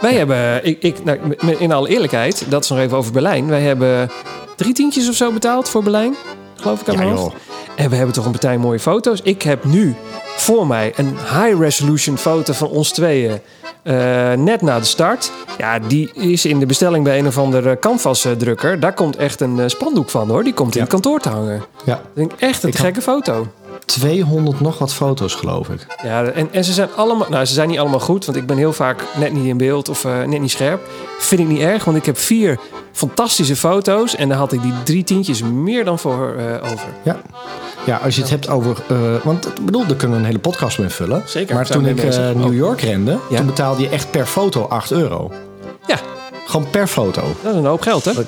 Speaker 2: Wij hebben, ik, ik, nou, m- in alle eerlijkheid, dat is nog even over Berlijn. Wij hebben drie tientjes of zo betaald voor Berlijn, geloof ik aan
Speaker 3: Ja,
Speaker 2: mijn
Speaker 3: joh.
Speaker 2: hoofd. En we hebben toch een partij mooie foto's. Ik heb nu voor mij een high-resolution foto van ons tweeën. eh, net na de start. Ja, die is in de bestelling bij een of andere canvas-drukker. Daar komt echt een eh, spandoek van hoor. Die komt in
Speaker 3: Ja.
Speaker 2: het kantoor te hangen.
Speaker 3: Ja,
Speaker 2: Ik denk echt een
Speaker 3: Ik had-
Speaker 2: gekke foto.
Speaker 3: 200 nog wat foto's, geloof ik.
Speaker 2: Ja, en, en ze zijn allemaal, nou, ze zijn niet allemaal goed, want ik ben heel vaak net niet in beeld of eh, net niet scherp. Vind ik niet erg, want ik heb vier fantastische foto's en daar had ik die drie tientjes meer dan voor eh, over.
Speaker 3: Ja. Ja, als je het hebt over... eh, want ik bedoel, daar kunnen we een hele podcast mee vullen.
Speaker 2: Zeker,
Speaker 3: Maar
Speaker 2: zijn
Speaker 3: toen
Speaker 2: we
Speaker 3: ik
Speaker 2: mee bezig.
Speaker 3: eh, New York rende,
Speaker 2: Ja.
Speaker 3: toen betaalde je echt per foto 8 euro.
Speaker 2: Ja,
Speaker 3: Gewoon per foto.
Speaker 2: dat is een hoop geld, hè?
Speaker 3: Ja,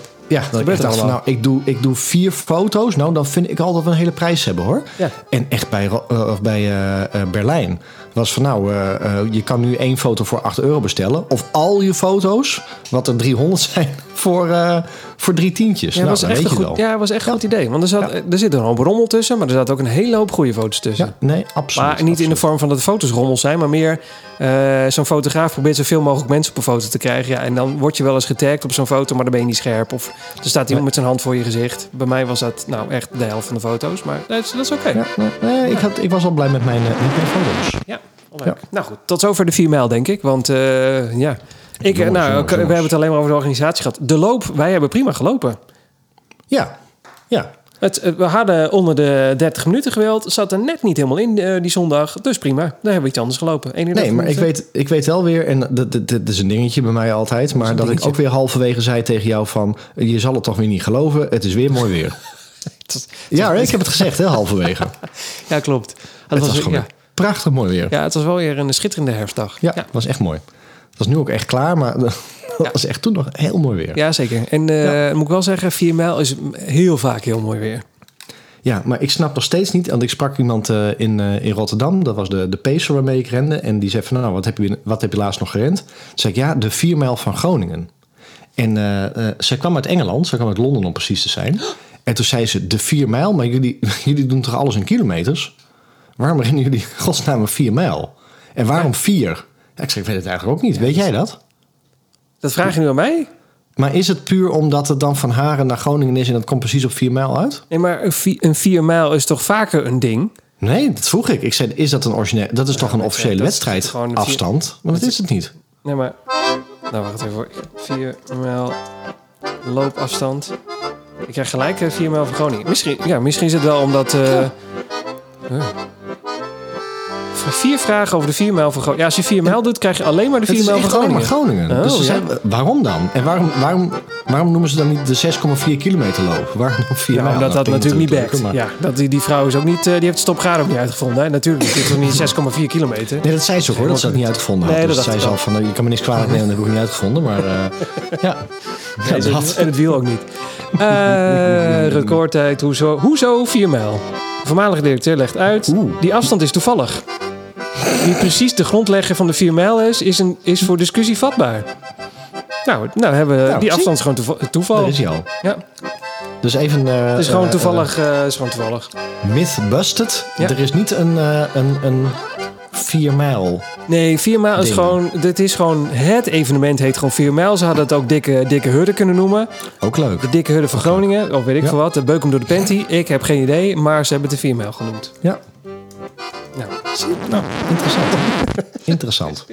Speaker 3: dat ik
Speaker 2: gebeurt
Speaker 3: echt dacht van,
Speaker 2: allemaal.
Speaker 3: nou, ik doe, ik doe vier foto's. Nou, dan vind ik altijd wel een hele prijs hebben, hoor.
Speaker 2: Ja.
Speaker 3: En echt bij, Ro- eh, of bij eh, eh, Berlijn was van, nou, eh, eh, je kan nu één foto voor 8 euro bestellen. Of al je foto's, wat er 300 [laughs] zijn, voor, eh, voor drie tientjes.
Speaker 2: Ja,
Speaker 3: nou,
Speaker 2: was
Speaker 3: dan
Speaker 2: echt
Speaker 3: weet
Speaker 2: een
Speaker 3: je
Speaker 2: goed,
Speaker 3: wel.
Speaker 2: ja, was echt een goed idee, want er, zat, er zit een hoop rommel tussen, maar er zaten ook een hele hoop goede foto's tussen.
Speaker 3: Ja, nee, absoluut.
Speaker 2: Maar niet in de
Speaker 3: absoluut.
Speaker 2: vorm van dat de foto's rommel zijn, maar meer eh, zo'n fotograaf probeert zoveel mogelijk mensen op een foto te krijgen. Ja, en dan word je wel eens getagd op zo'n foto, maar dan ben je niet scherp. Of er staat iemand met zijn hand voor je gezicht. Bij mij was dat nou echt de helft van de foto's, maar dat is, dat is oké. Ja.
Speaker 3: Ja, nee, nee, ik, had, ik was al blij met mijn, eh, met mijn foto's.
Speaker 2: leuk. Nou goed, tot zover de 4 mijl, denk ik. Want eh, ja, ik, eh, nou,
Speaker 3: Jongens, jongens,
Speaker 2: we
Speaker 3: jongens.
Speaker 2: hebben het alleen maar over de organisatie gehad. De loop, wij hebben prima gelopen.
Speaker 3: Ja, ja.
Speaker 2: Het, eh, we hadden onder de 30 minuten gewild, zat er net niet helemaal in eh, die zondag. Dus prima, daar hebben we iets anders gelopen. 31
Speaker 3: Nee, maar ik
Speaker 2: minuten.
Speaker 3: weet, ik weet wel weer, en dat, dat, dat is een dingetje bij mij altijd, maar dat, ik
Speaker 2: dingetje. [laughs]
Speaker 3: ook weer halverwege zei tegen jou van, je zal het toch weer niet geloven, het is weer mooi weer.
Speaker 2: Het was-
Speaker 3: Ja, ik heb het gezegd, hè,
Speaker 2: [laughs]
Speaker 3: halverwege.
Speaker 2: ja, klopt.
Speaker 3: Het
Speaker 2: Het
Speaker 3: was gewoon
Speaker 2: ja.
Speaker 3: weer prachtig mooi weer.
Speaker 2: ja, het was wel weer een schitterende herfstdag.
Speaker 3: Ja, was echt mooi. Het was nu ook echt klaar, maar [laughs] dat was echt toen nog heel mooi weer. Ja,
Speaker 2: Ja, zeker. En eh, moet ik wel zeggen, 4 mijl is heel vaak heel mooi weer.
Speaker 3: maar ik snap nog steeds niet, want ik sprak iemand eh, in, eh, in Rotterdam, dat was de, de pacer waarmee ik rende, en die zei van nou, wat heb je, wat heb je laatst nog gerend? Toen zei ik ja, de 4 mijl van Groningen. En eh, eh, zij kwam uit Engeland, zij kwam uit Londen om precies te zijn. En toen zei ze, de 4 mijl, maar jullie, [laughs] jullie doen toch alles in kilometers? Waarom rennen jullie in godsnaam een 4 mijl? En waarom 4? Ja, ik zei, ik weet het eigenlijk ook niet. weet jij dat?
Speaker 2: Dat vraag je nu aan mij?
Speaker 3: Maar is het puur omdat het dan van Haren naar Groningen is en dat komt precies op 4 mijl uit?
Speaker 2: Nee, maar een vi- een 4 mijl is toch vaker een ding?
Speaker 3: Nee, dat vroeg ik. Ik zei, is dat een origineel? Dat is toch een officiële
Speaker 2: dat is gewoon een vier-
Speaker 3: wedstrijdafstand? Maar dat is het niet.
Speaker 2: Nee, maar... Nou, wacht even hoor. 4 mijl loopafstand. Ik krijg gelijk 4 mijl van Groningen. Misschien, ja, misschien is het wel omdat... eh eh. Vier vragen over de 4 mijl van Groningen. Ja, als je 4 mijl doet, krijg je alleen maar de
Speaker 3: Het
Speaker 2: 4
Speaker 3: is
Speaker 2: mijl van
Speaker 3: echt alleen maar
Speaker 2: Groningen.
Speaker 3: Groningen.
Speaker 2: Oh,
Speaker 3: dus ze
Speaker 2: ja.
Speaker 3: zeiden, waarom dan? En waarom, waarom, waarom noemen ze dan niet de 6,4 kilometer loop? Waarom dan 4
Speaker 2: Ja,
Speaker 3: mijl?
Speaker 2: omdat dat
Speaker 3: klinkt
Speaker 2: natuurlijk niet backt.
Speaker 3: leuker, maar-
Speaker 2: Ja, dat die, die vrouw is ook niet, eh, die heeft de stopgraad ook niet uitgevonden. Hè? Natuurlijk, het is toch niet 6,4 kilometer.
Speaker 3: Nee, dat zei ze ook hoor, dat ze dat niet uitgevonden had.
Speaker 2: Nee,
Speaker 3: dus
Speaker 2: dat
Speaker 3: zei
Speaker 2: dacht
Speaker 3: ze
Speaker 2: ik
Speaker 3: al van, nou, je kan me niks kwalijk nemen, dat heb ik ook niet uitgevonden.
Speaker 2: [laughs]
Speaker 3: Maar eh, ja, ja,
Speaker 2: Nee,
Speaker 3: dat.
Speaker 2: En het wiel ook niet. Eh, recordtijd, hoezo? Hoezo 4 mijl? De voormalige directeur legt uit,
Speaker 3: Oeh.
Speaker 2: die afstand is toevallig. Wie precies de grondlegger van de 4 mijl is, is, een, is voor discussie vatbaar. Nou, nou hebben we
Speaker 3: Nou, zie.
Speaker 2: die afstand is gewoon toeva- toeval.
Speaker 3: Daar is hij al.
Speaker 2: Oh. ja,
Speaker 3: Dus even... eh,
Speaker 2: het is gewoon
Speaker 3: eh,
Speaker 2: toevallig. eh, is gewoon toevallig.
Speaker 3: Myth busted.
Speaker 2: Ja.
Speaker 3: Er is niet een, eh, een, een 4 mijl.
Speaker 2: Nee, 4 mijl is
Speaker 3: Ding.
Speaker 2: gewoon, dit is gewoon, het evenement heet gewoon 4 mijl. Ze hadden het ook dikke, dikke hudden kunnen noemen.
Speaker 3: Ook leuk.
Speaker 2: De dikke hudden van Groningen, of weet ik
Speaker 3: Ja.
Speaker 2: veel wat. De Beukum door de Penty, ik heb geen idee, maar ze hebben het de 4 mijl genoemd.
Speaker 3: Ja.
Speaker 2: Nou.
Speaker 3: Nou, interessant. [laughs] interessant.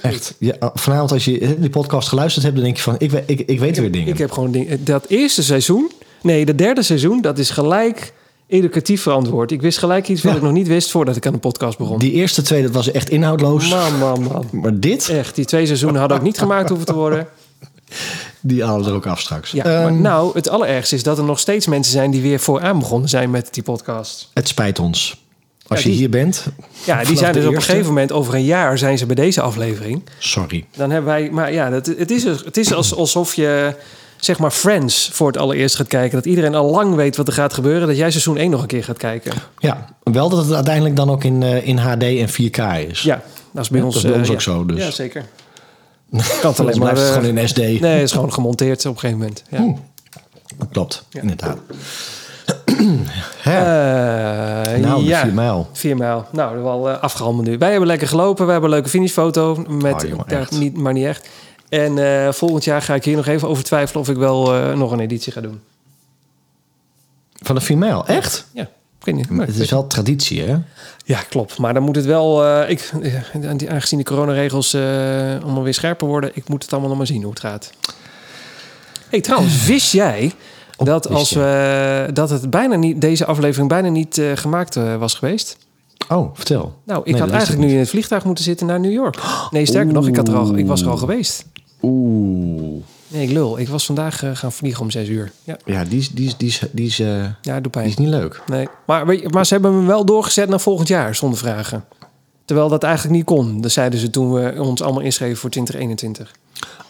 Speaker 3: Echt. Ja, vanavond als je eh, die podcast geluisterd hebt, dan denk je van, ik, we- ik, ik weet weer dingen.
Speaker 2: Ik heb gewoon ding, dat eerste seizoen, nee, dat derde seizoen, dat is gelijk educatief verantwoord. Ik wist gelijk iets wat
Speaker 3: Ja.
Speaker 2: ik nog niet wist voordat ik aan de podcast begon.
Speaker 3: Die eerste twee, dat was echt inhoudloos.
Speaker 2: Man, man, man.
Speaker 3: maar dit,
Speaker 2: Echt, die twee seizoenen hadden ook niet gemaakt hoeven te worden.
Speaker 3: die halen we er ook af straks.
Speaker 2: Ja,
Speaker 3: Ehm,
Speaker 2: maar nou, het allerergste is dat er nog steeds mensen zijn die weer vooraan begonnen zijn met die podcast.
Speaker 3: Het spijt ons. Als
Speaker 2: Ja,
Speaker 3: je
Speaker 2: die-
Speaker 3: hier bent,
Speaker 2: Ja, die
Speaker 3: Vanaf
Speaker 2: zijn
Speaker 3: de
Speaker 2: dus op een
Speaker 3: eerste?
Speaker 2: gegeven moment, over een jaar zijn ze bij deze aflevering.
Speaker 3: sorry.
Speaker 2: Dan hebben wij, maar ja, dat, het is, het is als- alsof je, zeg maar, Friends voor het allereerst gaat kijken. Dat iedereen al lang weet wat er gaat gebeuren, dat jij seizoen 1 nog een keer gaat kijken.
Speaker 3: Ja, wel dat het uiteindelijk dan ook in, eh, in HD en 4K is.
Speaker 2: Ja, dat is bij
Speaker 3: Ja,
Speaker 2: ons,
Speaker 3: dat is bij
Speaker 2: eh,
Speaker 3: ons ook
Speaker 2: ja.
Speaker 3: zo, dus.
Speaker 2: Ja,
Speaker 3: [laughs]
Speaker 2: zeker.
Speaker 3: kan het
Speaker 2: alleen maar, eh,
Speaker 3: gewoon in SD.
Speaker 2: Nee, het is gewoon gemonteerd op een gegeven moment. Ja.
Speaker 3: Oeh. Klopt, inderdaad. [clears throat] Hè?
Speaker 2: Eh,
Speaker 3: nou, de
Speaker 2: ja.
Speaker 3: 4 mijl.
Speaker 2: Vier mijl. Nou, dat is wel eh, afgehandeld nu. Wij hebben lekker gelopen. We hebben een leuke finishfoto. Met,
Speaker 3: Oh, jongen,
Speaker 2: ja,
Speaker 3: echt.
Speaker 2: niet, maar niet echt. En eh, volgend jaar ga ik hier nog even over twijfelen of ik wel eh, nog een editie ga doen.
Speaker 3: Van de 4 mijl, echt?
Speaker 2: Ja, ik weet niet. Maar
Speaker 3: Het is wel traditie, hè?
Speaker 2: Ja, klopt. Maar dan moet het wel... eh, ik, eh, aangezien de coronaregels eh, allemaal weer scherper worden... ik moet het allemaal nog maar zien hoe het gaat. hey, trouwens, wist jij dat,
Speaker 3: Oh, wist
Speaker 2: als
Speaker 3: jij.
Speaker 2: we, dat het bijna niet, deze aflevering bijna niet eh, gemaakt eh, was geweest?
Speaker 3: Oh, vertel.
Speaker 2: Nou, ik
Speaker 3: Nee,
Speaker 2: had
Speaker 3: dat wist
Speaker 2: eigenlijk
Speaker 3: ik
Speaker 2: nu in het vliegtuig moeten zitten naar New York. Nee, sterker nog, ik, had er al, ik was er al geweest.
Speaker 3: Oeh.
Speaker 2: Nee, ik lul. Ik was vandaag eh, gaan vliegen om zes uur. Ja,
Speaker 3: Ja, die is, die is, die is, die is, eh,
Speaker 2: ja doe
Speaker 3: die
Speaker 2: pijn.
Speaker 3: is niet leuk.
Speaker 2: Nee. Maar, weet je, maar ze hebben me wel doorgezet naar volgend jaar zonder vragen. Terwijl dat eigenlijk niet kon. Dat zeiden ze toen we ons allemaal inschreven voor 2021.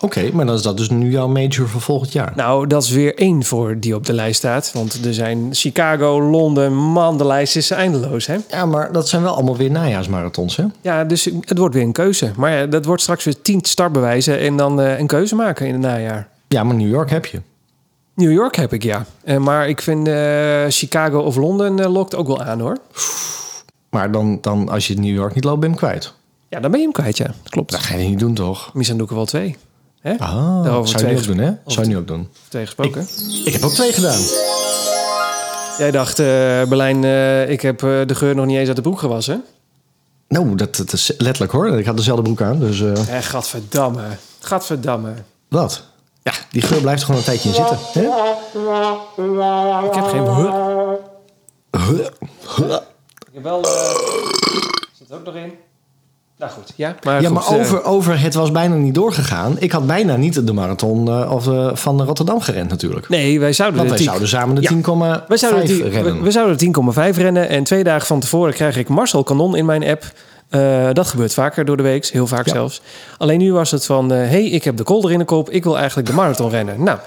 Speaker 3: Oké, maar dan is dat dus nu jouw major voor volgend jaar.
Speaker 2: Nou, dat is weer één voor die op de lijst staat. Want er zijn Chicago, Londen, man, de lijst is eindeloos. Hè?
Speaker 3: Ja, maar dat zijn wel allemaal weer najaarsmarathons, hè?
Speaker 2: Ja, dus het wordt weer een keuze. Maar ja, dat wordt straks weer tien startbewijzen en dan eh, een keuze maken in het najaar.
Speaker 3: Ja, maar New York heb je.
Speaker 2: New York heb ik ja. Eh, maar ik vind eh, Chicago of Londen eh, lokt ook wel aan hoor.
Speaker 3: Maar dan, dan als je New York niet loopt, ben je hem kwijt.
Speaker 2: Ja, dan ben je hem kwijt, ja. Klopt.
Speaker 3: Dat ga je niet doen, toch?
Speaker 2: Misschien doe ik er wel twee. Hè?
Speaker 3: Ah,
Speaker 2: Daarover
Speaker 3: zou je nu ook
Speaker 2: twee-
Speaker 3: doen, hè? Zou je nu ook doen.
Speaker 2: Twee gesproken.
Speaker 3: Ik heb ook twee gedaan.
Speaker 2: Jij dacht, eh, Berlijn, eh, ik heb eh, de geur nog niet eens uit de broek gewassen.
Speaker 3: Nou, dat, dat is letterlijk hoor. Ik had dezelfde broek aan, dus eh,
Speaker 2: Eh, gadverdamme. Gadverdamme.
Speaker 3: wat? Ja, die geur blijft gewoon een tijdje in zitten. Hè?
Speaker 2: Ik heb geen... Huh.
Speaker 3: Huh, huh.
Speaker 2: Ik heb wel... eh, Zit er ook nog in? Nou goed, ja. Maar,
Speaker 3: ja,
Speaker 2: goed,
Speaker 3: maar
Speaker 2: eh,
Speaker 3: over, over het was bijna niet doorgegaan. Ik had bijna niet de marathon eh, of, eh, van Rotterdam gerend natuurlijk.
Speaker 2: nee, wij zouden
Speaker 3: Want
Speaker 2: de
Speaker 3: wij
Speaker 2: tien-
Speaker 3: zouden samen de
Speaker 2: Ja.
Speaker 3: 10,5
Speaker 2: Wij zouden, die-
Speaker 3: rennen.
Speaker 2: we, we zouden 10,5 rennen. En twee dagen van tevoren krijg ik Marcel Kanon in mijn app. Eh, dat gebeurt vaker door de week, heel vaak
Speaker 3: Ja.
Speaker 2: zelfs. Alleen nu was het van, eh, hey, ik heb de kolder in de kop. Ik wil eigenlijk de marathon rennen.
Speaker 3: [laughs]
Speaker 2: Nou,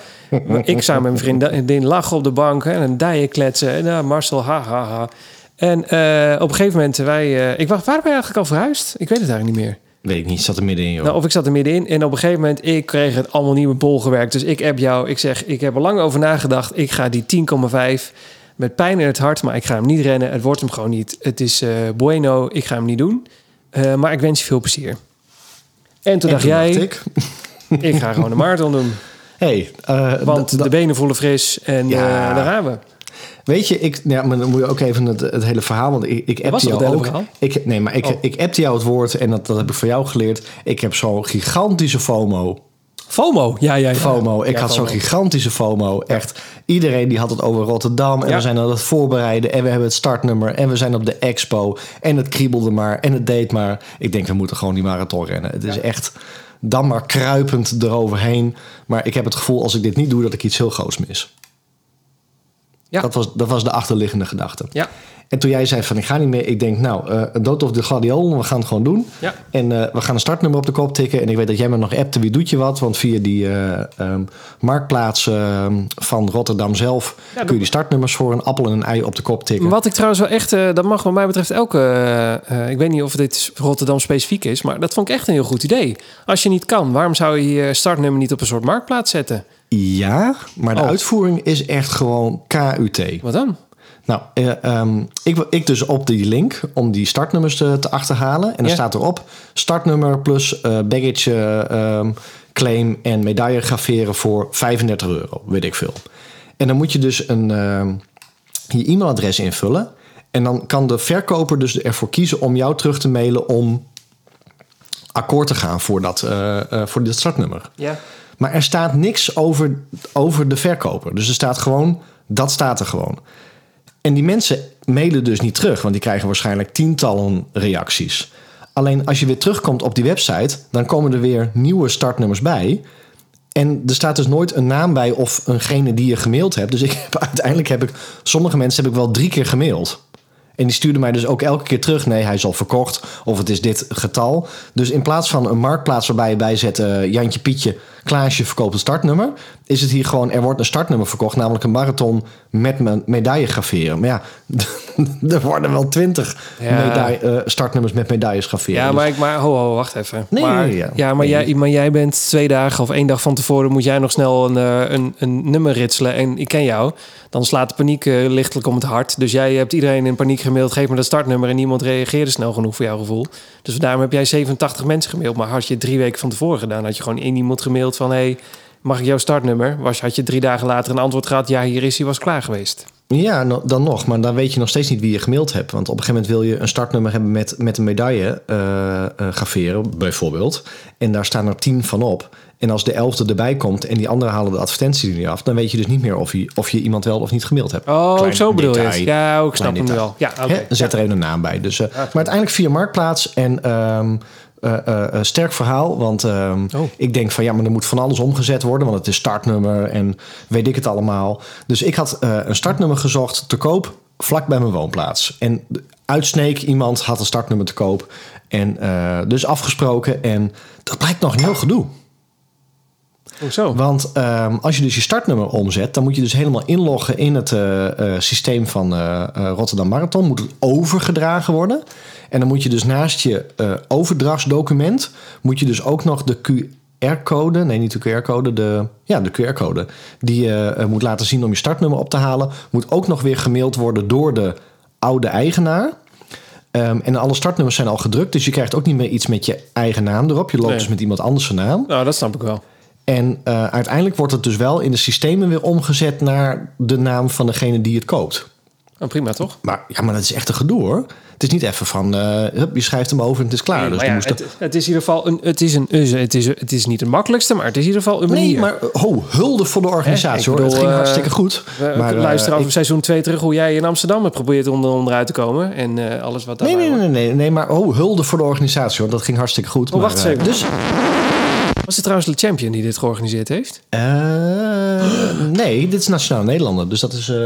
Speaker 2: ik samen met mijn vriendin lachen op de bank. hè, En een dijen kletsen. En nou, Marcel, ha, ha, ha. En eh, op een gegeven moment, wij, eh, ik wacht, waren wij eigenlijk al verhuisd? Ik weet het eigenlijk niet meer.
Speaker 3: Weet ik niet, zat er middenin joh.
Speaker 2: Nou, of ik zat er middenin en op een gegeven moment, ik kreeg het allemaal niet meer bol gewerkt. Dus ik heb jou, ik zeg, ik heb er lang over nagedacht. Ik ga die 10,5 met pijn in het hart, maar ik ga hem niet rennen. Het wordt hem gewoon niet. Het is eh, bueno, ik ga hem niet doen. Eh, maar ik wens je veel plezier. En toen
Speaker 3: En
Speaker 2: dacht jij, ik.
Speaker 3: ik,
Speaker 2: ga gewoon de marathon
Speaker 3: [laughs]
Speaker 2: doen.
Speaker 3: hey, eh,
Speaker 2: Want
Speaker 3: dat- dat-
Speaker 2: de benen voelen fris en
Speaker 3: Ja.
Speaker 2: eh, daar gaan we.
Speaker 3: weet je, ik, ja, maar dan moet je ook even het, het hele verhaal, want ik, ik
Speaker 2: was
Speaker 3: appte
Speaker 2: nog
Speaker 3: jou
Speaker 2: het hele
Speaker 3: ook.
Speaker 2: verhaal?
Speaker 3: Ik, nee, maar ik,
Speaker 2: Oh.
Speaker 3: ik appte jou het woord en dat, dat heb ik van jou geleerd. Ik heb zo'n gigantische FOMO.
Speaker 2: FOMO, ja, ja, ja.
Speaker 3: FOMO. Ik
Speaker 2: Ja,
Speaker 3: had zo'n
Speaker 2: FOMO.
Speaker 3: gigantische FOMO. Echt, iedereen die had het over Rotterdam. En
Speaker 2: Ja.
Speaker 3: we zijn aan het voorbereiden. En we hebben het startnummer. En we zijn op de expo. En het kriebelde maar. En het deed maar. Ik denk, we moeten gewoon die marathon rennen. Het is echt dan maar kruipend eroverheen. Maar ik heb het gevoel, als ik dit niet doe, dat ik iets heel groots mis.
Speaker 2: Ja.
Speaker 3: Dat, was, dat was de achterliggende gedachte.
Speaker 2: Ja,
Speaker 3: En toen jij zei van, ik ga niet meer. Ik denk, nou, eh, een dood of de gladiolen, we gaan het gewoon doen.
Speaker 2: Ja.
Speaker 3: En eh, we gaan een startnummer op de kop tikken. En ik weet dat jij me nog appte, wie doet je wat? Want via die eh, ehm, marktplaats ehm, van Rotterdam zelf... kun je die startnummers voor een appel en een ei op de kop tikken.
Speaker 2: Wat ik trouwens wel echt, eh, dat mag wat mij betreft elke. eh, eh, ik weet niet of dit Rotterdam specifiek is, maar dat vond ik echt een heel goed idee. Als je niet kan, waarom zou je je startnummer niet op een soort marktplaats zetten?
Speaker 3: Ja, maar de
Speaker 2: Oh.
Speaker 3: uitvoering is echt gewoon KUT.
Speaker 2: Wat dan?
Speaker 3: Nou, eh, ehm, ik, ik dus op die link om die startnummers te, te achterhalen. En dan
Speaker 2: Ja.
Speaker 3: staat erop startnummer plus eh, baggage eh, ehm, claim en medaille graveren voor 35 euro, weet ik veel. En dan moet je dus een, ehm, je e-mailadres invullen. En dan kan de verkoper dus ervoor kiezen om jou terug te mailen om akkoord te gaan voor dat, eh, eh, voor dit startnummer.
Speaker 2: Ja.
Speaker 3: Maar er staat niks over, over de verkoper. Dus er staat gewoon, dat staat er gewoon. En die mensen mailen dus niet terug, want die krijgen waarschijnlijk tientallen reacties. Alleen als je weer terugkomt op die website, dan komen er weer nieuwe startnummers bij. En er staat dus nooit een naam bij of eengene die je gemaild hebt. Dus ik heb, [laughs] uiteindelijk heb ik sommige mensen heb ik wel drie keer gemaild. En die stuurde mij dus ook elke keer terug. Nee, hij is al verkocht. Of het is dit getal. Dus in plaats van een marktplaats waarbij je bij zet... eh, Jantje Pietje, Klaasje verkoopt een startnummer... is het hier gewoon, er wordt een startnummer verkocht... namelijk een marathon met me- medaille graveren. Maar ja, [laughs] er worden wel twintig
Speaker 2: Ja.
Speaker 3: medaille- eh, startnummers met medailles graveren.
Speaker 2: Ja,
Speaker 3: Dus-
Speaker 2: maar, ik, maar ho, ho, wacht even.
Speaker 3: Nee,
Speaker 2: maar,
Speaker 3: ja, ja.
Speaker 2: maar,
Speaker 3: Nee.
Speaker 2: jij, maar jij bent twee dagen of één dag van tevoren... moet jij nog snel een, eh, een, een nummer ritselen. En ik ken jou. Dan slaat de paniek eh, lichtelijk om het hart. Dus jij hebt iedereen in paniek gemaild. Geef me dat startnummer. En niemand reageerde snel genoeg voor jouw gevoel. Dus daarom heb jij 87 mensen gemaild. Maar had je het drie weken van tevoren gedaan... had je gewoon één iemand gemaild van... Hey, Mag ik jouw startnummer? Was, had je drie dagen later een antwoord gehad? Ja, hier is hij, was klaar geweest.
Speaker 3: Ja, no- dan nog. Maar dan weet je nog steeds niet wie je gemaild hebt. Want op een gegeven moment wil je een startnummer hebben met, met een medaille eh eh, graveren, bijvoorbeeld. En daar staan er tien van op. En als de elfde erbij komt en die anderen halen de advertentie er niet af... dan weet je dus niet meer of je, of je iemand wel of niet gemaild hebt.
Speaker 2: Oh,
Speaker 3: Klein
Speaker 2: zo bedoel je
Speaker 3: detail.
Speaker 2: het. Ja, ik
Speaker 3: Klein
Speaker 2: snap hem nu
Speaker 3: detail.
Speaker 2: al. Ja, oké.
Speaker 3: Hè? Zet er even een naam bij. Dus, eh, maar uiteindelijk via Marktplaats en ehm, eh, eh, eh, sterk verhaal. Want ehm,
Speaker 2: Oh.
Speaker 3: ik denk van ja, maar er moet van alles omgezet worden. Want het is startnummer en weet ik het allemaal. Dus ik had eh, een startnummer gezocht te koop vlak bij mijn woonplaats. En de- uitsneek iemand had een startnummer te koop. En eh, dus afgesproken. En dat blijkt nog een heel gedoe.
Speaker 2: Hoezo?
Speaker 3: Want ehm, als je dus je startnummer omzet, dan moet je dus helemaal inloggen in het eh, eh, systeem van eh, eh, Rotterdam Marathon. Moet het overgedragen worden. En dan moet je dus naast je eh, overdrachtsdocument, moet je dus ook nog de QR-code, nee niet de QR-code, de, ja, de QR-code, die je eh, moet laten zien om je startnummer op te halen, moet ook nog weer gemaild worden door de oude eigenaar. Ehm, en alle startnummers zijn al gedrukt, dus je krijgt ook niet meer iets met je eigen naam erop. Je loopt
Speaker 2: Nee.
Speaker 3: dus met iemand anders zijn naam.
Speaker 2: Nou, dat snap ik wel.
Speaker 3: En eh, uiteindelijk wordt het dus wel in de systemen weer omgezet naar de naam van degene die het koopt.
Speaker 2: Nou, prima, toch?
Speaker 3: Maar ja, maar dat is echt een gedoe hoor. Het is niet even van, eh, hup, je schrijft hem over en het is klaar. dus
Speaker 2: maar
Speaker 3: dan
Speaker 2: ja,
Speaker 3: moest er-
Speaker 2: het, het is in ieder geval een, het is een, het is, het is niet het makkelijkste, maar het is in ieder geval een manier.
Speaker 3: Nee, maar ho, hulde voor de
Speaker 2: Hè, ik
Speaker 3: organisatie hoor.
Speaker 2: bedoel,
Speaker 3: Het ging
Speaker 2: eh,
Speaker 3: hartstikke goed.
Speaker 2: We
Speaker 3: maar, eh,
Speaker 2: luisteren over
Speaker 3: ik-
Speaker 2: seizoen 2 terug hoe jij in Amsterdam hebt geprobeerd om er onderuit te komen. En eh, alles wat daar
Speaker 3: nee, nee, nee, nee, nee, maar ho, hulde voor de organisatie hoor. Dat ging hartstikke goed.
Speaker 2: Oh,
Speaker 3: maar,
Speaker 2: wacht
Speaker 3: eh,
Speaker 2: eens even. Dus... Was het trouwens de champion die dit georganiseerd heeft?
Speaker 3: eh, nee, dit is Nationaal Nederlander. Dus dat is eh,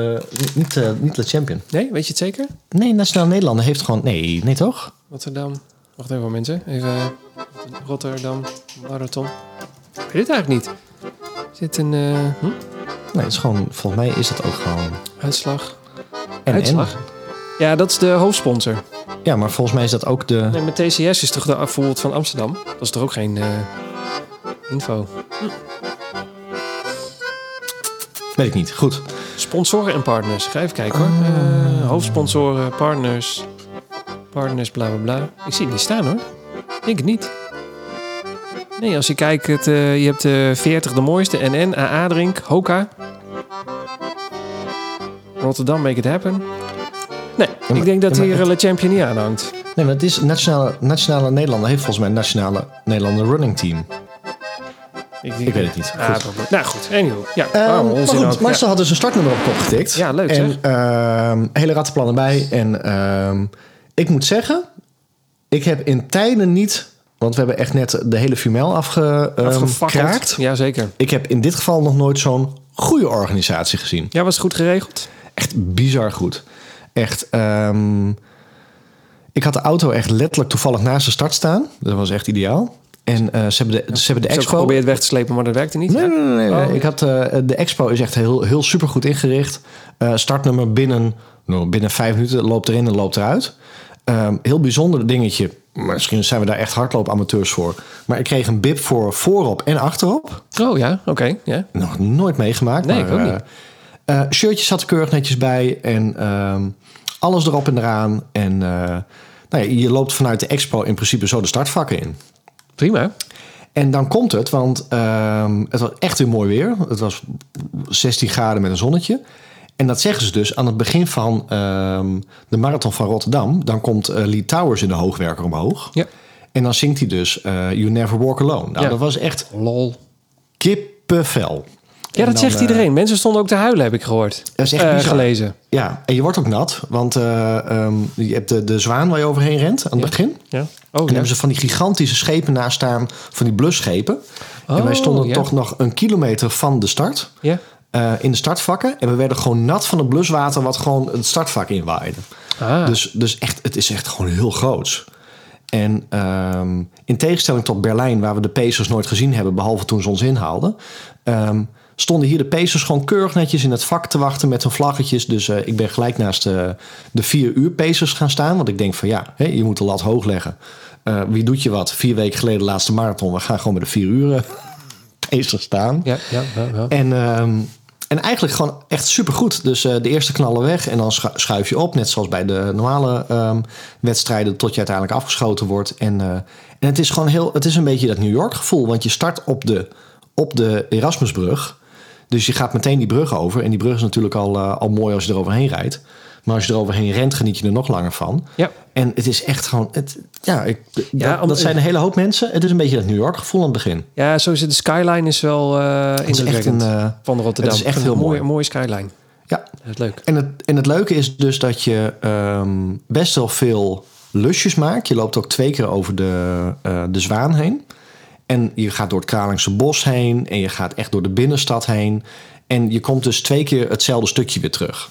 Speaker 3: niet, eh, niet de champion.
Speaker 2: Nee, weet je het zeker?
Speaker 3: Nee, Nationaal Nederlander heeft gewoon... Nee, nee toch?
Speaker 2: Rotterdam. Wacht even hoor, mensen. Even eh, Rotterdam Marathon. Ik weet het eigenlijk niet. Is dit een eh, hm?
Speaker 3: Nee, het is gewoon... Volgens mij is dat ook gewoon...
Speaker 2: uitslag?
Speaker 3: En,
Speaker 2: Uitslag? Ja, dat is de hoofdsponsor.
Speaker 3: En. Ja, maar volgens mij is dat ook de...
Speaker 2: Nee, maar TCS is toch de voorbeeld van Amsterdam? Dat is toch ook geen eh, info?
Speaker 3: Weet ik niet. Goed.
Speaker 2: Sponsoren en partners. Ga even kijken hoor.
Speaker 3: Oh.
Speaker 2: Eh, hoofdsponsoren, partners. Partners, bla bla bla. Ik zie het niet staan hoor. Ik denk het niet. Nee, als je kijkt, het, eh, je hebt eh 40 de mooiste. NN, AA Drink, Hoka. Rotterdam, make it happen. Nee,
Speaker 3: maar-
Speaker 2: ik denk dat
Speaker 3: ja, maar
Speaker 2: hier eh,
Speaker 3: het-
Speaker 2: Le Champion niet aanhangt.
Speaker 3: Nee, maar het is... Nationale, Nationale Nederlander heeft volgens mij een Nationale Nederlander Running Team.
Speaker 2: denk-
Speaker 3: Ik weet het niet.
Speaker 2: Ah,
Speaker 3: Goed.
Speaker 2: probleem. nou goed, anyway. Ja,
Speaker 3: Ehm,
Speaker 2: waarom
Speaker 3: maar
Speaker 2: onzin
Speaker 3: goed,
Speaker 2: ook. Ja.
Speaker 3: Marcel had dus een startnummer op kop getikt.
Speaker 2: Ja, leuk,
Speaker 3: En
Speaker 2: zeg.
Speaker 3: ehm, hele rattenplannen bij. En ehm, ik moet zeggen, ik heb in tijden niet... Want we hebben echt net de hele fumel ehm,
Speaker 2: Afgefakkeld.
Speaker 3: afgekraakt.
Speaker 2: Ja, zeker.
Speaker 3: ik heb in dit geval nog nooit zo'n goede organisatie gezien.
Speaker 2: Ja, was het goed geregeld?
Speaker 3: Echt bizar goed. Echt. ehm, ik had de auto echt letterlijk toevallig naast de start staan. Dat was echt ideaal. En eh, ze hebben de, ze hebben
Speaker 2: Ik heb
Speaker 3: de expo.
Speaker 2: geprobeerd weg te slepen, maar dat werkte niet.
Speaker 3: Nee,
Speaker 2: Ja.
Speaker 3: nee, nee. nee.
Speaker 2: Oh.
Speaker 3: Ik had, eh, de expo is echt heel, heel super goed ingericht. Eh, startnummer binnen, nou, binnen vijf minuten loopt erin en loopt eruit. Ehm, heel bijzonder dingetje. Misschien zijn we daar echt hardloopamateurs voor. Maar ik kreeg een bib voor voorop en achterop.
Speaker 2: Oh ja, oké. ja.
Speaker 3: Nog nooit meegemaakt.
Speaker 2: Nee,
Speaker 3: maar,
Speaker 2: ik ook
Speaker 3: eh,
Speaker 2: niet.
Speaker 3: eh, shirtjes zat er keurig netjes bij. En ehm, alles erop en eraan. En eh, nou ja, je loopt vanuit de expo in principe zo de startvakken in.
Speaker 2: Prima.
Speaker 3: En dan komt het, want ehm, het was echt weer mooi weer. Het was 16 graden met een zonnetje. En dat zeggen ze dus aan het begin van ehm, de marathon van Rotterdam. Dan komt eh, Lee Towers in de hoogwerker omhoog.
Speaker 2: Ja.
Speaker 3: En dan zingt hij dus eh, You Never Walk Alone. Nou,
Speaker 2: Ja.
Speaker 3: dat was echt
Speaker 2: Lol.
Speaker 3: kippenvel.
Speaker 2: Ja, dat
Speaker 3: dan,
Speaker 2: zegt
Speaker 3: eh,
Speaker 2: iedereen. Mensen stonden ook te huilen, heb ik gehoord.
Speaker 3: Dat is echt
Speaker 2: Eh,
Speaker 3: bizar.
Speaker 2: gelezen.
Speaker 3: Ja, en je wordt ook nat, want eh, ehm, je hebt de, de zwaan waar je overheen rent aan het begin.
Speaker 2: Ja.
Speaker 3: En
Speaker 2: Oh,
Speaker 3: dan
Speaker 2: ja.
Speaker 3: hebben ze van die gigantische schepen naast staan, van die blusschepen. en wij
Speaker 2: Oh,
Speaker 3: stonden
Speaker 2: ja.
Speaker 3: toch nog een kilometer van de start,
Speaker 2: ja.
Speaker 3: eh, in de startvakken. En we werden gewoon nat van het bluswater wat gewoon het startvak inwaaide.
Speaker 2: Ah,
Speaker 3: Dus, dus echt, het is echt gewoon heel groots. En ehm, in tegenstelling tot Berlijn, waar we de Pacers nooit gezien hebben, behalve toen ze ons inhaalden, ehm, stonden hier de Pacers gewoon keurig netjes in het vak te wachten met hun vlaggetjes. Dus eh, ik ben gelijk naast de, de vier uur Pacers gaan staan, want ik denk van ja, hè, je moet de lat hoog leggen. Eh, wie doet je wat? Vier weken geleden laatste marathon, we gaan gewoon met de vier uur eh, [laughs] Pacers staan.
Speaker 2: ja, ja, ja, ja.
Speaker 3: En, ehm, en eigenlijk gewoon echt supergoed. Dus eh, de eerste knallen weg en dan schu- schuif je op. Net zoals bij de normale ehm, wedstrijden tot je uiteindelijk afgeschoten wordt. En, eh, en het is gewoon heel, het is een beetje dat New York gevoel. Want je start op de, op de Erasmusbrug. Dus je gaat meteen die brug over. En die brug is natuurlijk al, eh, al mooi als je eroverheen rijdt. Maar als je eroverheen rent, geniet je er nog langer van.
Speaker 2: Ja.
Speaker 3: En het is echt gewoon... Het, ja, ik, dat,
Speaker 2: om-
Speaker 3: dat zijn een hele hoop mensen. Het is een beetje dat New York gevoel aan het begin.
Speaker 2: ja, zo is het. De skyline is wel eh
Speaker 3: is echt
Speaker 2: indrukwekkend
Speaker 3: een, eh,
Speaker 2: van Rotterdam.
Speaker 3: het is echt
Speaker 2: Een
Speaker 3: heel mooi.
Speaker 2: mooie- mooie skyline.
Speaker 3: Ja,
Speaker 2: Dat is leuk.
Speaker 3: En het, en het leuke is dus dat je ehm, best wel veel lusjes maakt. Je loopt ook twee keer over de, eh, de Zwaan heen. En je gaat door het Kralingse Bos heen. En je gaat echt door de binnenstad heen. En je komt dus twee keer hetzelfde stukje weer terug.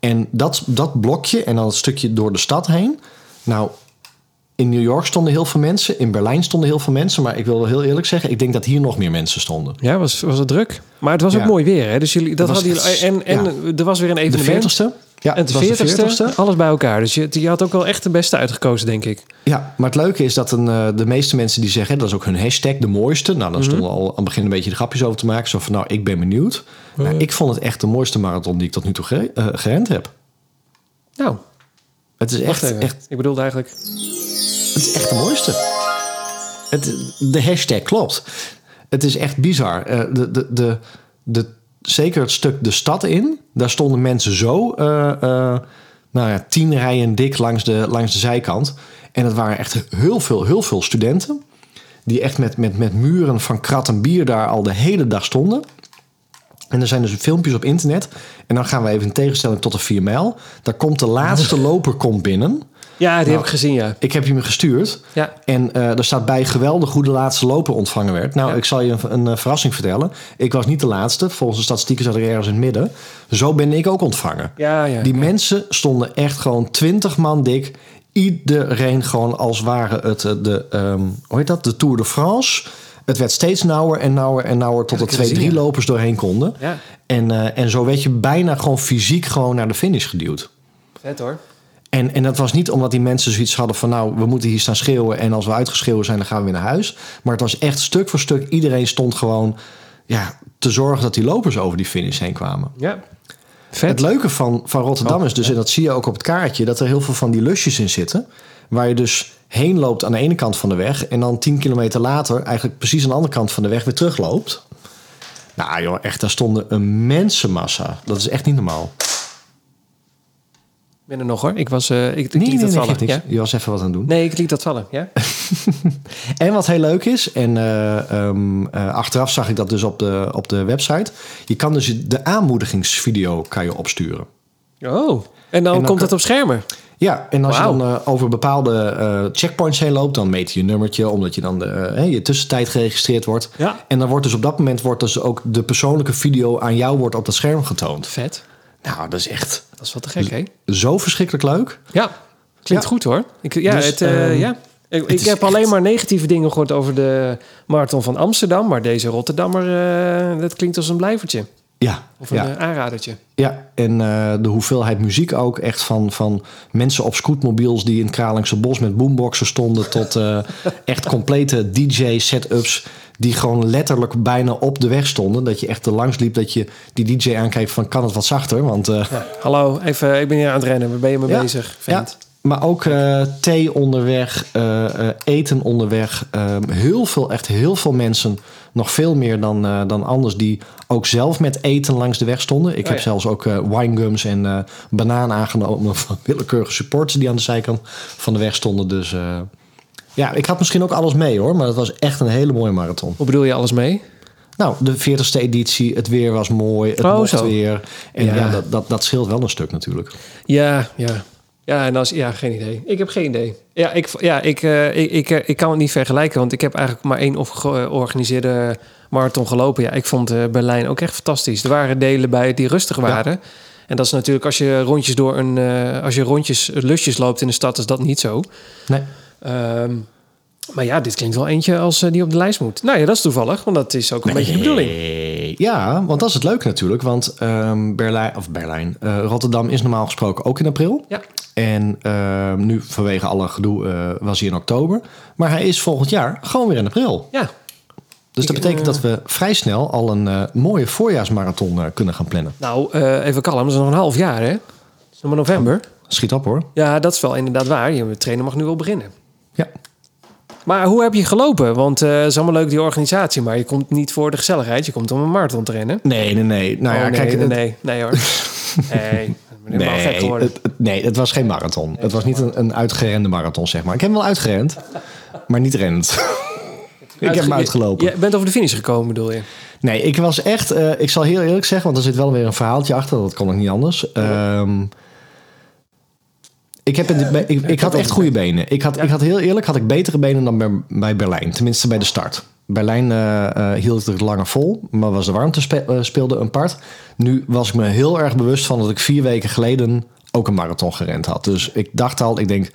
Speaker 3: En dat, dat blokje en dan het stukje door de stad heen. Nou, in New York stonden heel veel mensen. In Berlijn stonden heel veel mensen. Maar ik wil wel heel eerlijk zeggen, ik denk dat hier nog meer mensen stonden.
Speaker 2: Ja, was, was het druk. Maar het was ook
Speaker 3: Ja.
Speaker 2: mooi weer. Hè? Dus jullie, dat
Speaker 3: was
Speaker 2: hadden jullie,
Speaker 3: echt-
Speaker 2: en en er was weer een
Speaker 3: De
Speaker 2: evenement.
Speaker 3: 40ste? Ja,
Speaker 2: en de
Speaker 3: was
Speaker 2: 40ste,
Speaker 3: 40ste.
Speaker 2: Alles bij elkaar. Dus je, je had ook wel echt de beste uitgekozen, denk ik.
Speaker 3: Ja, maar het leuke is dat een, eh, de meeste mensen die zeggen... dat is ook hun hashtag, de mooiste. Nou,
Speaker 2: Mhm.
Speaker 3: dan stonden al aan het begin een beetje de grapjes over te maken. Zo van, nou, ik ben benieuwd. Nou, ik vond het echt de mooiste marathon die ik tot nu toe gere- eh, gerend heb.
Speaker 2: Nou,
Speaker 3: Het is
Speaker 2: wacht
Speaker 3: echt,
Speaker 2: even.
Speaker 3: echt,
Speaker 2: Ik bedoelde eigenlijk...
Speaker 3: het is echt de mooiste. Het, de hashtag klopt. Het is echt bizar. Eh, de, de, de, de, zeker het stuk de stad in. Daar stonden mensen zo eh, eh, nou ja, tien rijen dik langs de, langs de zijkant. En dat waren echt heel veel, heel veel studenten. Die echt met, met, met muren van krat en bier daar al de hele dag stonden. En er zijn dus filmpjes op internet. En dan gaan we even in tegenstelling tot de 4 mijl. Daar komt de laatste [laughs] loper komt binnen.
Speaker 2: Ja, die heb
Speaker 3: Nou.
Speaker 2: ik gezien, ja.
Speaker 3: Ik heb hem gestuurd.
Speaker 2: Ja.
Speaker 3: En eh er staat bij geweldig hoe de laatste loper ontvangen werd. Nou,
Speaker 2: Ja.
Speaker 3: ik zal je een, een, eh, verrassing vertellen. Ik was niet de laatste. Volgens de statistieken zat ik ergens in het midden. Zo ben ik ook ontvangen.
Speaker 2: Ja, ja.
Speaker 3: Die mensen stonden echt gewoon twintig man dik. Iedereen gewoon als ware het eh, de, ehm, hoe heet dat? de Tour de France. Het werd steeds nauwer en nauwer en nauwer tot
Speaker 2: Ja, dat
Speaker 3: er
Speaker 2: kun
Speaker 3: twee,
Speaker 2: je
Speaker 3: drie
Speaker 2: zien, ja.
Speaker 3: lopers doorheen konden.
Speaker 2: Ja,
Speaker 3: En, eh, en zo werd je bijna gewoon fysiek gewoon naar de finish geduwd.
Speaker 2: vet hoor.
Speaker 3: En, en dat was niet omdat die mensen zoiets hadden van... nou, we moeten hier staan schreeuwen en als we uitgeschreeuwen zijn... dan gaan we weer naar huis. Maar het was echt stuk voor stuk. Iedereen stond gewoon ja, te zorgen dat die lopers over die finish heen kwamen.
Speaker 2: Ja.
Speaker 3: Het
Speaker 2: Vet. Oh,
Speaker 3: leuke van, van Rotterdam is dus, en dat zie je ook op het kaartje... dat er heel veel van die lusjes in zitten... waar je dus heen loopt aan de ene kant van de weg... en dan tien kilometer later eigenlijk precies aan de andere kant van de weg weer terugloopt. Nou joh, echt, daar stonden een mensenmassa. Dat is echt niet normaal.
Speaker 2: Ik ben er nog hoor. Ik, was, eh, ik, ik liet dat vallen.
Speaker 3: geeft niks.
Speaker 2: ja?
Speaker 3: Je was even wat aan het doen.
Speaker 2: Nee, ik liet dat vallen. Ja?
Speaker 3: En wat heel leuk is, en eh, ehm, eh, achteraf zag ik dat dus op de, op de website. Je kan dus de aanmoedigingsvideo kan je opsturen.
Speaker 2: Oh, en dan,
Speaker 3: dan
Speaker 2: komt
Speaker 3: kan-
Speaker 2: het op schermen.
Speaker 3: Ja, en als
Speaker 2: Wauw.
Speaker 3: je dan eh, over bepaalde eh, checkpoints heen loopt, dan meet je je nummertje, omdat je dan de, eh, hè, je tussentijd geregistreerd wordt.
Speaker 2: Ja.
Speaker 3: En dan wordt dus op dat moment wordt dus ook de persoonlijke video aan jou wordt op dat scherm getoond.
Speaker 2: Vet.
Speaker 3: Nou, dat is echt
Speaker 2: Dat is wat te gek, hè?
Speaker 3: zo verschrikkelijk leuk.
Speaker 2: Ja, klinkt
Speaker 3: Dus- Ja.
Speaker 2: goed hoor. Ik, ja,
Speaker 3: Dus,
Speaker 2: het, eh,
Speaker 3: ehm,
Speaker 2: ja. Ik, ik
Speaker 3: is
Speaker 2: heb alleen
Speaker 3: echt-
Speaker 2: maar negatieve dingen gehoord over de marathon van Amsterdam. Maar deze Rotterdammer, eh, dat klinkt als een blijvertje.
Speaker 3: Ja,
Speaker 2: Of een
Speaker 3: ja.
Speaker 2: eh, aanradertje.
Speaker 3: Ja, en eh, de hoeveelheid muziek ook. Echt van, van mensen op scootmobiels die in het Kralingse Bos met boomboxen stonden... tot eh, echt complete DJ-setups die gewoon letterlijk bijna op de weg stonden. Dat je echt er langs liep, dat je die DJ aankijkt van kan het wat zachter? Want eh,
Speaker 2: Hallo, even, ik ben hier aan het rennen. Waar ben je mee
Speaker 3: Ja.
Speaker 2: bezig,
Speaker 3: ja,
Speaker 2: vent?
Speaker 3: maar ook eh, thee onderweg, eh, eh, eten onderweg. eh, heel veel, echt heel veel mensen. Nog veel meer dan, eh, dan anders die ook zelf met eten langs de weg stonden. Ik
Speaker 2: Oh
Speaker 3: heb
Speaker 2: ja.
Speaker 3: zelfs ook eh winegums en eh banaan aangenomen [laughs] van willekeurige supporters die aan de zijkant van de weg stonden. Dus eh, ja, ik had misschien ook alles mee hoor, maar het was echt een hele mooie marathon.
Speaker 2: Hoe bedoel je alles mee?
Speaker 3: Nou, de 40ste editie, het weer was mooi, het
Speaker 2: Oh,
Speaker 3: mocht
Speaker 2: zo.
Speaker 3: weer. En
Speaker 2: Ja.
Speaker 3: ja, dat, dat, dat scheelt wel een stuk natuurlijk.
Speaker 2: Ja, ja. Ja, en als, ja, geen idee. Ik heb geen idee. Ja, ik, ja ik, eh, ik, ik, eh, ik kan het niet vergelijken, want ik heb eigenlijk maar één of georganiseerde marathon gelopen. Ja, ik vond eh, Berlijn ook echt fantastisch. Er waren delen bij die rustig waren. En dat is natuurlijk als je rondjes door een, eh, als je rondjes eh, lusjes loopt in de stad, is dat niet zo.
Speaker 3: Nee.
Speaker 2: Ehm, maar ja, dit klinkt wel eentje als eh, die op de lijst moet. Nou ja, dat is toevallig, want dat is ook een beetje de bedoeling.
Speaker 3: Nee. Ja, want dat is het leuke natuurlijk. Want ehm, Berlijn, of Berlijn, eh, Rotterdam is normaal gesproken ook in april.
Speaker 2: Ja.
Speaker 3: En ehm, nu vanwege alle gedoe eh, was hij in oktober. Maar hij is volgend jaar gewoon weer in april.
Speaker 2: Ja,
Speaker 3: Dus dat
Speaker 2: Ik,
Speaker 3: betekent
Speaker 2: eh,
Speaker 3: dat we vrij snel al een eh, mooie voorjaarsmarathon eh, kunnen gaan plannen.
Speaker 2: nou, eh, even kalm. Dat is nog een half jaar, hè? Het is nog maar november.
Speaker 3: Schiet op hoor.
Speaker 2: Ja, dat is wel inderdaad waar. Je trainer mag nu wel beginnen.
Speaker 3: Ja.
Speaker 2: Maar hoe heb je gelopen? Want eh, het is allemaal leuk die organisatie, maar je komt niet voor de gezelligheid. Je komt om een marathon te rennen.
Speaker 3: Nee, nee, nee. Nou ja,
Speaker 2: Oh, nee,
Speaker 3: kijk,
Speaker 2: nee,
Speaker 3: het-
Speaker 2: nee, nee
Speaker 3: [laughs]
Speaker 2: hoor. Nee, ik ben helemaal gek geworden.
Speaker 3: het, het- nee, het was geen marathon. het was niet een, een uitgerende marathon, zeg maar. Ik heb hem wel uitgerend, maar niet rennend. [laughs] ik heb hem
Speaker 2: Uitge-
Speaker 3: uitgelopen.
Speaker 2: Je, je bent over de finish gekomen, bedoel je?
Speaker 3: Nee, ik was echt, eh, ik zal heel eerlijk zeggen, want er zit wel weer een verhaaltje achter, dat kan ook niet anders. Ehm, ik, heb in de- ik, ik had echt goede benen. Ik had, ik had heel eerlijk, had ik betere benen dan bij, bij Berlijn, tenminste bij de start. Berlijn eh, eh, hield het langer vol, maar was de warmte spe- eh, speelde een part. Nu was ik me heel erg bewust van dat ik vier weken geleden ook een marathon gerend had. Dus ik dacht al, ik denk,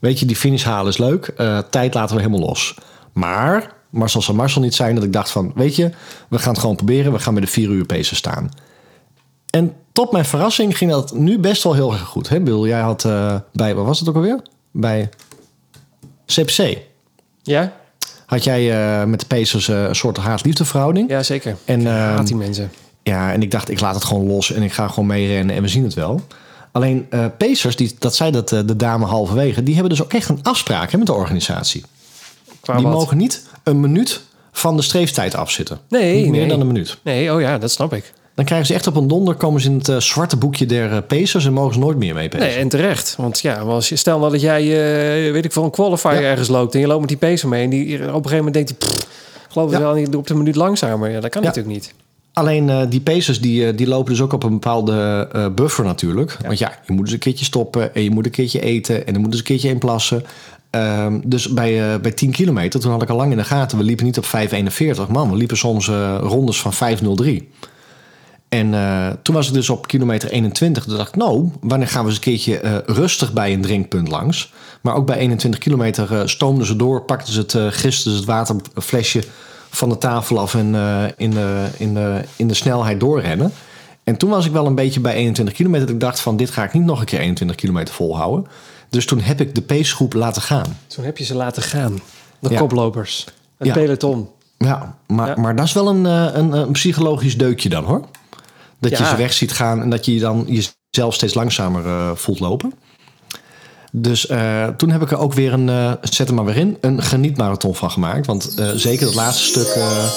Speaker 3: weet je, die finish halen is leuk, eh, tijd laten we helemaal los. Maar Marcel zal Marcel niet zijn dat ik dacht van, weet je, we gaan het gewoon proberen. We gaan bij de vier uur paces staan. En tot mijn verrassing ging dat nu best wel heel erg goed. Hè? Bill, jij had eh, bij, wat was het ook alweer? Bij CPC.
Speaker 2: Ja,
Speaker 3: Had jij eh, met de Pacers eh, een soort haat-liefde verhouding.
Speaker 2: ja zeker.
Speaker 3: En, ehm,
Speaker 2: Haat die mensen.
Speaker 3: ja, en ik dacht, ik laat het gewoon los en ik ga gewoon mee rennen en we zien het wel. Alleen eh, Pacers, die, dat zei dat eh, de dame halverwege, die hebben dus ook echt een afspraak hè, met de organisatie.
Speaker 2: Qua
Speaker 3: die
Speaker 2: wat?
Speaker 3: mogen niet een minuut van de streeftijd afzitten.
Speaker 2: Nee,
Speaker 3: niet meer
Speaker 2: nee.
Speaker 3: dan een minuut.
Speaker 2: Nee, oh ja, dat snap ik.
Speaker 3: Dan krijgen ze echt op een donder, komen ze in het eh, zwarte boekje der eh, pacers en mogen ze nooit meer mee pacen.
Speaker 2: Nee, en terecht. Want ja, als je, stel nou dat jij, eh, weet ik veel, een qualifier
Speaker 3: Ja.
Speaker 2: ergens loopt en je loopt met die pacer mee. En die, op een gegeven moment denkt hij, "Pff, geloof het
Speaker 3: Ja.
Speaker 2: wel, niet, doe op de minuut langzamer. Ja, dat kan
Speaker 3: Ja.
Speaker 2: natuurlijk niet.
Speaker 3: Alleen eh, die pacers die, eh, die lopen dus ook op een bepaalde eh, buffer natuurlijk. Want ja, je moet eens een keertje stoppen en je moet een keertje eten en dan moet eens een keertje inplassen. Ehm, dus bij, eh, bij 10 kilometer, toen had ik al lang in de gaten, we liepen niet op 5,41. Man, we liepen soms eh, rondes van 5,03. En eh, toen was ik dus op kilometer 21. Toen dacht ik, nou, wanneer gaan we eens een keertje eh, rustig bij een drinkpunt langs? Maar ook bij 21 kilometer eh, stoomden ze door, pakten ze het, eh gisten ze het waterflesje van de tafel af en eh, in, de, in, de, in de snelheid doorrennen. En toen was ik wel een beetje bij 21 kilometer. Dat ik dacht van, dit ga ik niet nog een keer 21 kilometer volhouden. Dus toen heb ik de pacegroep laten gaan.
Speaker 2: Toen heb je ze laten gaan. De
Speaker 3: Ja.
Speaker 2: koplopers. Het
Speaker 3: Ja.
Speaker 2: peloton.
Speaker 3: Ja, maar,
Speaker 2: Ja.
Speaker 3: maar dat is wel een, eh, een, een psychologisch deukje dan hoor. Dat je
Speaker 2: Ja.
Speaker 3: ze weg ziet gaan en dat je dan jezelf steeds langzamer eh, voelt lopen. Dus eh, toen heb ik er ook weer een, eh, zet hem maar weer in, een genietmarathon van gemaakt. Want eh, zeker dat laatste stuk eh,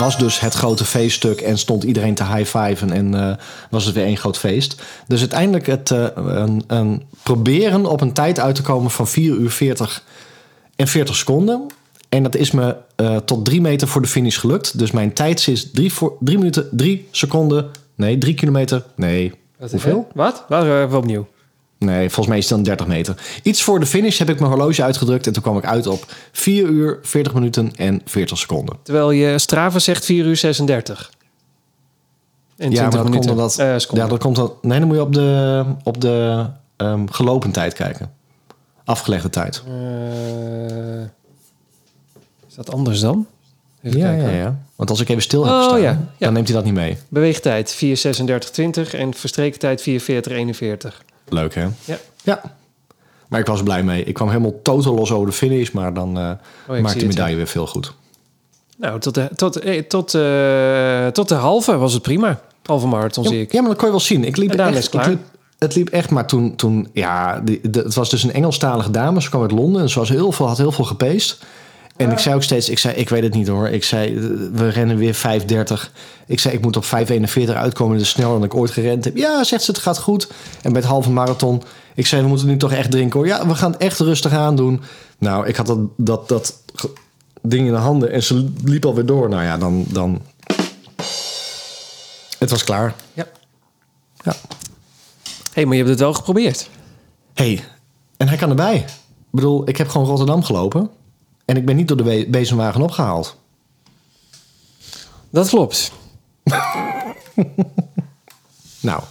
Speaker 3: was dus het grote feeststuk en stond iedereen te high-fiven en eh, was het weer één groot feest. Dus uiteindelijk het eh, een, een proberen op een tijd uit te komen van 4 uur 40 en 40 seconden. En dat is me eh, tot 3 meter voor de finish gelukt. Dus mijn tijd is 3 minuten, 3 seconden. Nee, 3 kilometer. Nee.
Speaker 2: Wat-
Speaker 3: Hoeveel?
Speaker 2: hè? Wat? Laten we even opnieuw.
Speaker 3: Nee, volgens mij is het dan 30 meter. Iets voor de finish heb ik mijn horloge uitgedrukt. En toen kwam ik uit op 4 uur, 40 minuten en 40 seconden.
Speaker 2: Terwijl je Strava zegt 4 uur 36. En
Speaker 3: ja,
Speaker 2: 20
Speaker 3: maar dat komt
Speaker 2: minuten.
Speaker 3: omdat.
Speaker 2: Eh, seconden.
Speaker 3: ja, dat komt dat. Nee, dan moet je op de, op de ehm, gelopen tijd kijken. Afgelegde tijd.
Speaker 2: Eh, is dat anders dan? Even
Speaker 3: Ja,
Speaker 2: kijken,
Speaker 3: ja,
Speaker 2: hoor.
Speaker 3: ja. Want als ik even stil heb
Speaker 2: Oh,
Speaker 3: gestaan,
Speaker 2: ja, ja.
Speaker 3: dan neemt hij dat niet mee.
Speaker 2: Beweegtijd 4.36.20 en verstreektijd 4.40.41.
Speaker 3: Leuk, hè?
Speaker 2: Ja.
Speaker 3: Ja. Maar ik was blij mee. Ik kwam helemaal totaal los over de finish, maar dan eh,
Speaker 2: Oh, zie
Speaker 3: maakt
Speaker 2: het,
Speaker 3: de
Speaker 2: ja.
Speaker 3: medaille weer veel goed.
Speaker 2: Nou, tot de, tot, eh, tot, eh, tot de halve was het prima. Halve marathon
Speaker 3: Ja,
Speaker 2: zie ik.
Speaker 3: ja, maar dat kon je wel zien. Ik liep
Speaker 2: En daarna
Speaker 3: echt,
Speaker 2: is het klaar.
Speaker 3: Het, liep, het liep echt, maar toen, toen ja, die- de- het was dus een Engelstalige dame. Ze kwam uit Londen en ze was heel veel, had heel veel gepeest. En ik zei ook steeds, ik zei, ik weet het niet hoor. Ik zei, eh, we rennen weer 5.30. Ik zei, ik moet op 5.41 uitkomen. Dus sneller dan ik ooit gerend heb. Ja, zegt ze, het gaat goed. En bij het halve marathon. Ik zei, we moeten nu toch echt drinken hoor. Ja, we gaan het echt rustig aandoen. Nou, ik had dat, dat, dat ge- ding in de handen. En ze liep alweer door. Nou ja, dan... dan... Het was klaar.
Speaker 2: Ja.
Speaker 3: Ja.
Speaker 2: Hé, hey, maar je hebt het wel geprobeerd.
Speaker 3: hey, en hij kan erbij. Ik bedoel, ik heb gewoon Rotterdam gelopen. En ik ben niet door de we- bezemwagen opgehaald.
Speaker 2: Dat klopt.
Speaker 3: Nou,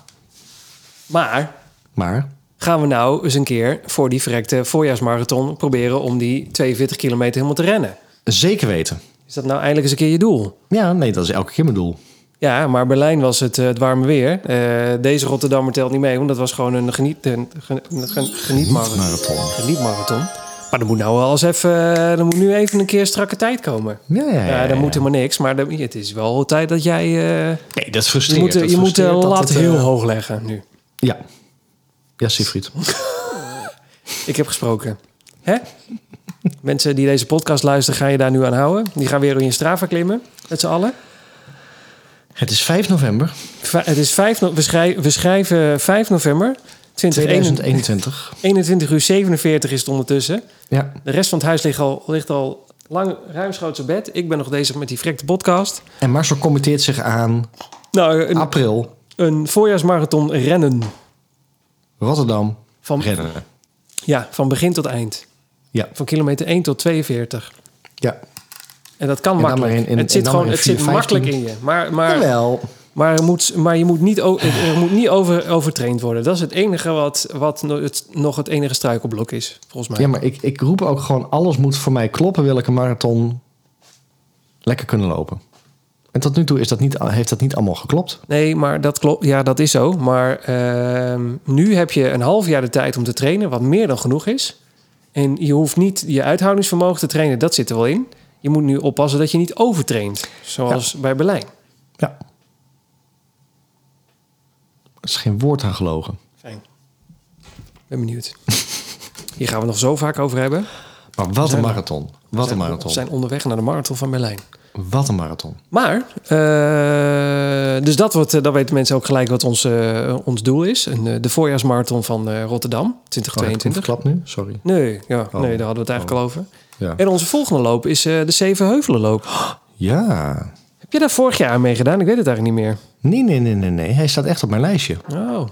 Speaker 2: Maar
Speaker 3: maar...
Speaker 2: gaan we nou eens een keer voor die verrekte voorjaarsmarathon proberen om die 42 kilometer helemaal te rennen?
Speaker 3: Zeker weten.
Speaker 2: Is dat nou eindelijk eens een keer je doel?
Speaker 3: Ja, nee, dat is elke keer mijn doel.
Speaker 2: Ja, maar Berlijn was het, eh, het warme weer. Eh, deze Rotterdammer telt niet mee, want dat was gewoon een geniet, een, gen- een gen- genietmarathon.
Speaker 3: Marathon.
Speaker 2: Genietmarathon. Maar er moet nou wel eens even, eh, er moet nu even een keer strakke tijd komen.
Speaker 3: Ja, ja,
Speaker 2: Ja,
Speaker 3: ja. ja.
Speaker 2: dan moet helemaal niks. Maar dan- het is wel tijd dat jij... eh,
Speaker 3: Nee, dat
Speaker 2: je
Speaker 3: frustreert.
Speaker 2: moet,
Speaker 3: Dat
Speaker 2: je moet de
Speaker 3: frustreert dat
Speaker 2: lat
Speaker 3: het, eh,
Speaker 2: heel hoog leggen nu.
Speaker 3: Ja. Ja, Siegfried.
Speaker 2: Ik heb gesproken. Hè? Mensen die deze podcast luisteren, ga je daar nu aan houden. Die gaan weer in je Strava klimmen, met z'n allen.
Speaker 3: Het is 5 november
Speaker 2: Va- het is 5, no- we, schrij- we schrijven 5 november 2021.
Speaker 3: 2021.
Speaker 2: 21 uur 47 is het ondertussen.
Speaker 3: Ja.
Speaker 2: De rest van het huis ligt al, ligt al lang ruimschoots op bed. Ik ben nog bezig met die frekte podcast.
Speaker 3: En Marcel committeert zich aan
Speaker 2: Nou,
Speaker 3: Ah.
Speaker 2: een,
Speaker 3: april,
Speaker 2: een voorjaarsmarathon rennen.
Speaker 3: Rotterdam,
Speaker 2: Van,
Speaker 3: rennen.
Speaker 2: ja, van begin tot eind.
Speaker 3: Ja.
Speaker 2: Van kilometer 1 tot 42.
Speaker 3: Ja.
Speaker 2: En dat kan
Speaker 3: En dan
Speaker 2: makkelijk.
Speaker 3: maar in- in-
Speaker 2: het
Speaker 3: en
Speaker 2: zit,
Speaker 3: dan
Speaker 2: gewoon,
Speaker 3: maar in
Speaker 2: het zit
Speaker 3: 4,15.
Speaker 2: makkelijk in je. Maar, maar,
Speaker 3: Jawel.
Speaker 2: maar, er moet, maar je moet niet, o- er moet niet over, overtraind worden. Dat is het enige wat, wat no- het, nog het enige struikelblok is, volgens mij.
Speaker 3: Ja, maar ik, ik roep ook gewoon: alles moet voor mij kloppen. Wil ik een marathon lekker kunnen lopen? En tot nu toe is dat niet, heeft dat niet allemaal geklopt.
Speaker 2: Nee, maar dat klopt. Ja, dat is zo. Maar ehm, nu heb je een half jaar de tijd om te trainen, wat meer dan genoeg is. En je hoeft niet je uithoudingsvermogen te trainen, dat zit er wel in. Je moet nu oppassen dat je niet overtraint, zoals bij Berlijn.
Speaker 3: Ja. Er is geen woord aan gelogen.
Speaker 2: Fijn. Ben benieuwd. Hier gaan we nog zo vaak over hebben.
Speaker 3: Maar wat
Speaker 2: zijn-
Speaker 3: een marathon. Wat een
Speaker 2: zijn,
Speaker 3: marathon.
Speaker 2: We zijn onderweg naar de marathon van Berlijn.
Speaker 3: Wat een marathon.
Speaker 2: Maar, eh, dus dat, wordt, eh, dan weten mensen ook gelijk wat ons, eh, ons doel is. En, eh, de voorjaarsmarathon van eh, Rotterdam,
Speaker 3: Oh, heb ik hem
Speaker 2: 2022.
Speaker 3: verklapt nu? Sorry.
Speaker 2: Nee, ja,
Speaker 3: Oh.
Speaker 2: nee, daar hadden we het eigenlijk al over.
Speaker 3: Ja.
Speaker 2: En onze volgende loop is eh, de Zevenheuvelenloop.
Speaker 3: ja.
Speaker 2: Heb je daar vorig jaar aan meegedaan? Ik weet het eigenlijk niet meer.
Speaker 3: Nee, nee, nee, nee, nee. Hij staat echt op mijn lijstje.
Speaker 2: Oh,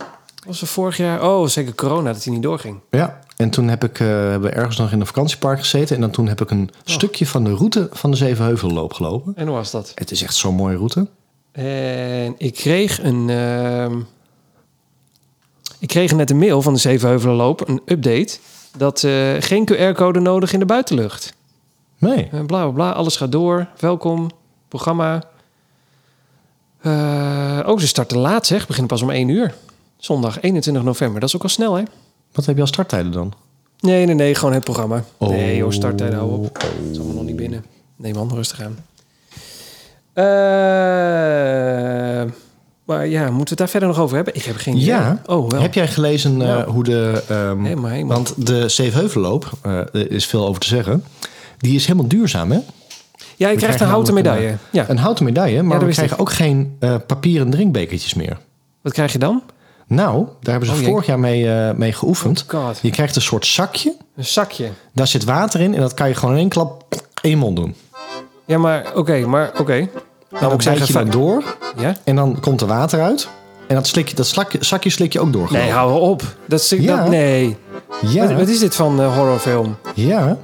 Speaker 2: was er vorig jaar... Oh, zeker corona dat hij niet doorging.
Speaker 3: Ja. En toen heb ik, eh, hebben we ergens nog in een vakantiepark gezeten. En dan toen heb ik een stukje van de route van de Zevenheuvelloop gelopen.
Speaker 2: En hoe was dat?
Speaker 3: Het is echt zo'n mooie route.
Speaker 2: En ik kreeg een... ehm, ik kreeg net een mail van de Zevenheuvelenloop, een update... dat eh, geen QR-code nodig in de buitenlucht.
Speaker 3: Nee.
Speaker 2: Eh, bla bla bla, alles gaat door. Welkom, programma. Eh, oh, ze starten laat zeg, beginnen pas om 1 uur. Zondag 21 november, dat is ook al snel hè?
Speaker 3: Wat heb je als starttijden dan?
Speaker 2: Nee, nee, nee, gewoon het programma. Nee joh, starttijd, hou nou op.
Speaker 3: Oh.
Speaker 2: Het is allemaal nog niet binnen. Nee man, rustig aan. Eh, maar ja, moeten we het daar verder nog over hebben? Ik heb geen idee.
Speaker 3: Ja.
Speaker 2: Oh, wel.
Speaker 3: Heb jij gelezen eh,
Speaker 2: Nou.
Speaker 3: hoe de... ehm,
Speaker 2: Helemaal, helemaal.
Speaker 3: want de Zevenheuvelloop, eh, er is veel over te zeggen. Die is helemaal duurzaam, hè?
Speaker 2: ja, je
Speaker 3: We
Speaker 2: krijgt
Speaker 3: krijgen
Speaker 2: een houten
Speaker 3: namelijk
Speaker 2: medaille. Ja,
Speaker 3: Een houten medaille, maar
Speaker 2: dat
Speaker 3: we
Speaker 2: wist
Speaker 3: krijgen ook geen eh, papieren drinkbekertjes meer.
Speaker 2: wat krijg je dan?
Speaker 3: Nou, daar hebben ze
Speaker 2: Oh, jee. Oh,
Speaker 3: vorig jaar mee, eh, mee geoefend.
Speaker 2: God.
Speaker 3: Je krijgt een soort zakje,
Speaker 2: Een zakje.
Speaker 3: daar zit water in en dat kan je gewoon in één klap in je mond doen.
Speaker 2: Ja, maar oké, maar oké.
Speaker 3: Nou,
Speaker 2: moet
Speaker 3: dan
Speaker 2: Nou, ik
Speaker 3: bijt je
Speaker 2: zeggen,
Speaker 3: dan door
Speaker 2: Ja?
Speaker 3: en dan komt er water uit. En dat, slik, je- dat slakje, zakje slik je ook door.
Speaker 2: Nee,
Speaker 3: geloof
Speaker 2: hou op. Dat is,
Speaker 3: Ja.
Speaker 2: dat, nee.
Speaker 3: ik. ja,
Speaker 2: Wat, wat is dit van eh, horrorfilm? [laughs]
Speaker 3: ja.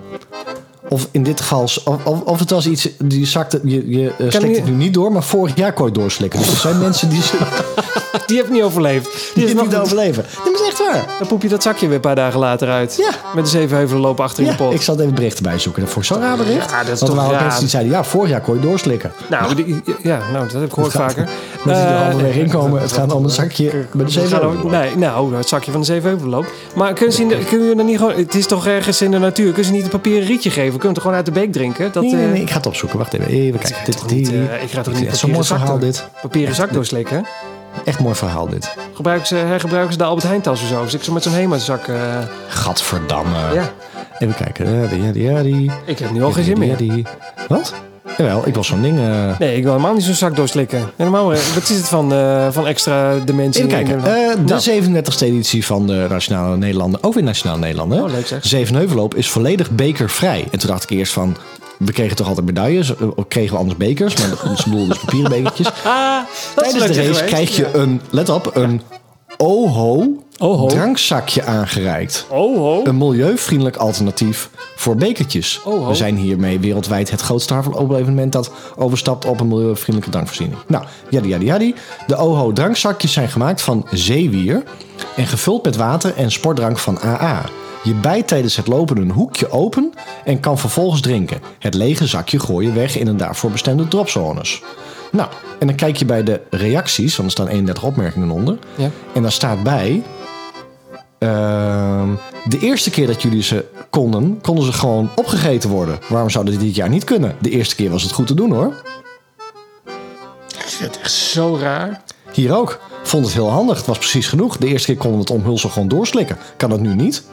Speaker 3: Of in dit geval, s- of, of, of het was iets, die zakte, je, je eh, slikt
Speaker 2: je-
Speaker 3: het nu niet door, maar vorig jaar kon je het doorslikken. Dus er
Speaker 2: [laughs]
Speaker 3: zijn mensen die, die,
Speaker 2: Die heeft niet overleefd. Die is
Speaker 3: het
Speaker 2: nog
Speaker 3: niet overleven. Dat is echt waar.
Speaker 2: Dan poep je dat zakje weer een paar dagen later uit.
Speaker 3: Ja.
Speaker 2: Met de zevenheuvelen lopen achter in
Speaker 3: Ja,
Speaker 2: de pot.
Speaker 3: ik zal even berichten bijzoeken. Dat vond ik zo'n raar bericht.
Speaker 2: Ja, dat is
Speaker 3: Want er
Speaker 2: toch
Speaker 3: waren ook
Speaker 2: raar.
Speaker 3: mensen die zeiden, ja, vorig jaar kon je doorslikken.
Speaker 2: Nou, die- ja, nou, dat heb ik gehoord
Speaker 3: gaat- [laughs]
Speaker 2: vaker.
Speaker 3: Mensen die er
Speaker 2: Eh,
Speaker 3: halverwege inkomen, het gaat om een zakje met een
Speaker 2: we gaan
Speaker 3: zeven.
Speaker 2: ook- Nee, nou, het zakje van de zevenheuvelenloop. Maar kunnen ze, in de- kunnen we dan niet gewoon... Het is toch ergens in de natuur. Kunnen ze niet een papieren rietje geven? Kunnen we het gewoon uit de beek drinken? Dat,
Speaker 3: Nee, nee,
Speaker 2: eh,
Speaker 3: nee, ik ga het opzoeken. Wacht even, even kijken. Dit,
Speaker 2: toch niet,
Speaker 3: die-
Speaker 2: eh, ik ga toch
Speaker 3: dit is
Speaker 2: niet
Speaker 3: echt zo'n mooi
Speaker 2: papieren
Speaker 3: verhaal
Speaker 2: zak
Speaker 3: dit.
Speaker 2: Papieren zak doorslikken?
Speaker 3: Echt mooi verhaal dit.
Speaker 2: Gebruiken ze, hergebruiken ze de Albert Heijn tas of zo? Of zit ik zo met zo'n HEMA-zak? eh,
Speaker 3: Gadverdamme.
Speaker 2: ja,
Speaker 3: Even kijken. Ja, die, die, ja, die.
Speaker 2: ik heb nu al geen zin
Speaker 3: Ja,
Speaker 2: meer.
Speaker 3: die. Wat? Jawel, ik was zo'n ding... eh,
Speaker 2: Nee, ik wil helemaal niet zo'n zak doorslikken. Helemaal, eh, wat is het van, eh, van extra dimensie?
Speaker 3: Even kijken.
Speaker 2: En-
Speaker 3: Eh,
Speaker 2: Nou.
Speaker 3: de 37e editie van de Nationale Nederlanden. Ook weer Nationale Nederlanden.
Speaker 2: Oh, leuk zeg.
Speaker 3: Zevenheuvelloop is volledig bekervrij. En toen dacht ik eerst van... We kregen toch altijd medailles? eh, Of kregen we anders bekers? Maar [laughs] ze bedoelden dus papieren bekertjes.
Speaker 2: ah, [laughs] dat is
Speaker 3: Tijdens de
Speaker 2: leuk
Speaker 3: race
Speaker 2: geweest.
Speaker 3: krijg je een... Let op, een OHO,
Speaker 2: Oho.
Speaker 3: drankzakje aangereikt.
Speaker 2: Oh, ho.
Speaker 3: Een milieuvriendelijk alternatief voor bekertjes.
Speaker 2: Oho.
Speaker 3: We zijn hiermee wereldwijd het grootste hardloop-evenement dat overstapt op een milieuvriendelijke drankvoorziening. Nou, jadi jadi jadi. De OHO drankzakjes zijn gemaakt van zeewier en gevuld met water en sportdrank van AA. Je bijt tijdens het lopen een hoekje open en kan vervolgens drinken. Het lege zakje gooi je weg in een daarvoor bestemde dropzones. Nou, en dan kijk je bij de reacties, want er staan 31 opmerkingen onder.
Speaker 2: Ja.
Speaker 3: En daar staat bij, Ehm, de eerste keer dat jullie ze konden, konden ze gewoon opgegeten worden. Waarom zouden die dit jaar niet kunnen? De eerste keer was het goed te doen hoor.
Speaker 2: Zo raar.
Speaker 3: Hier ook. Vond het heel handig. Het was precies genoeg. De eerste keer konden we het omhulsel gewoon doorslikken. Kan dat nu niet?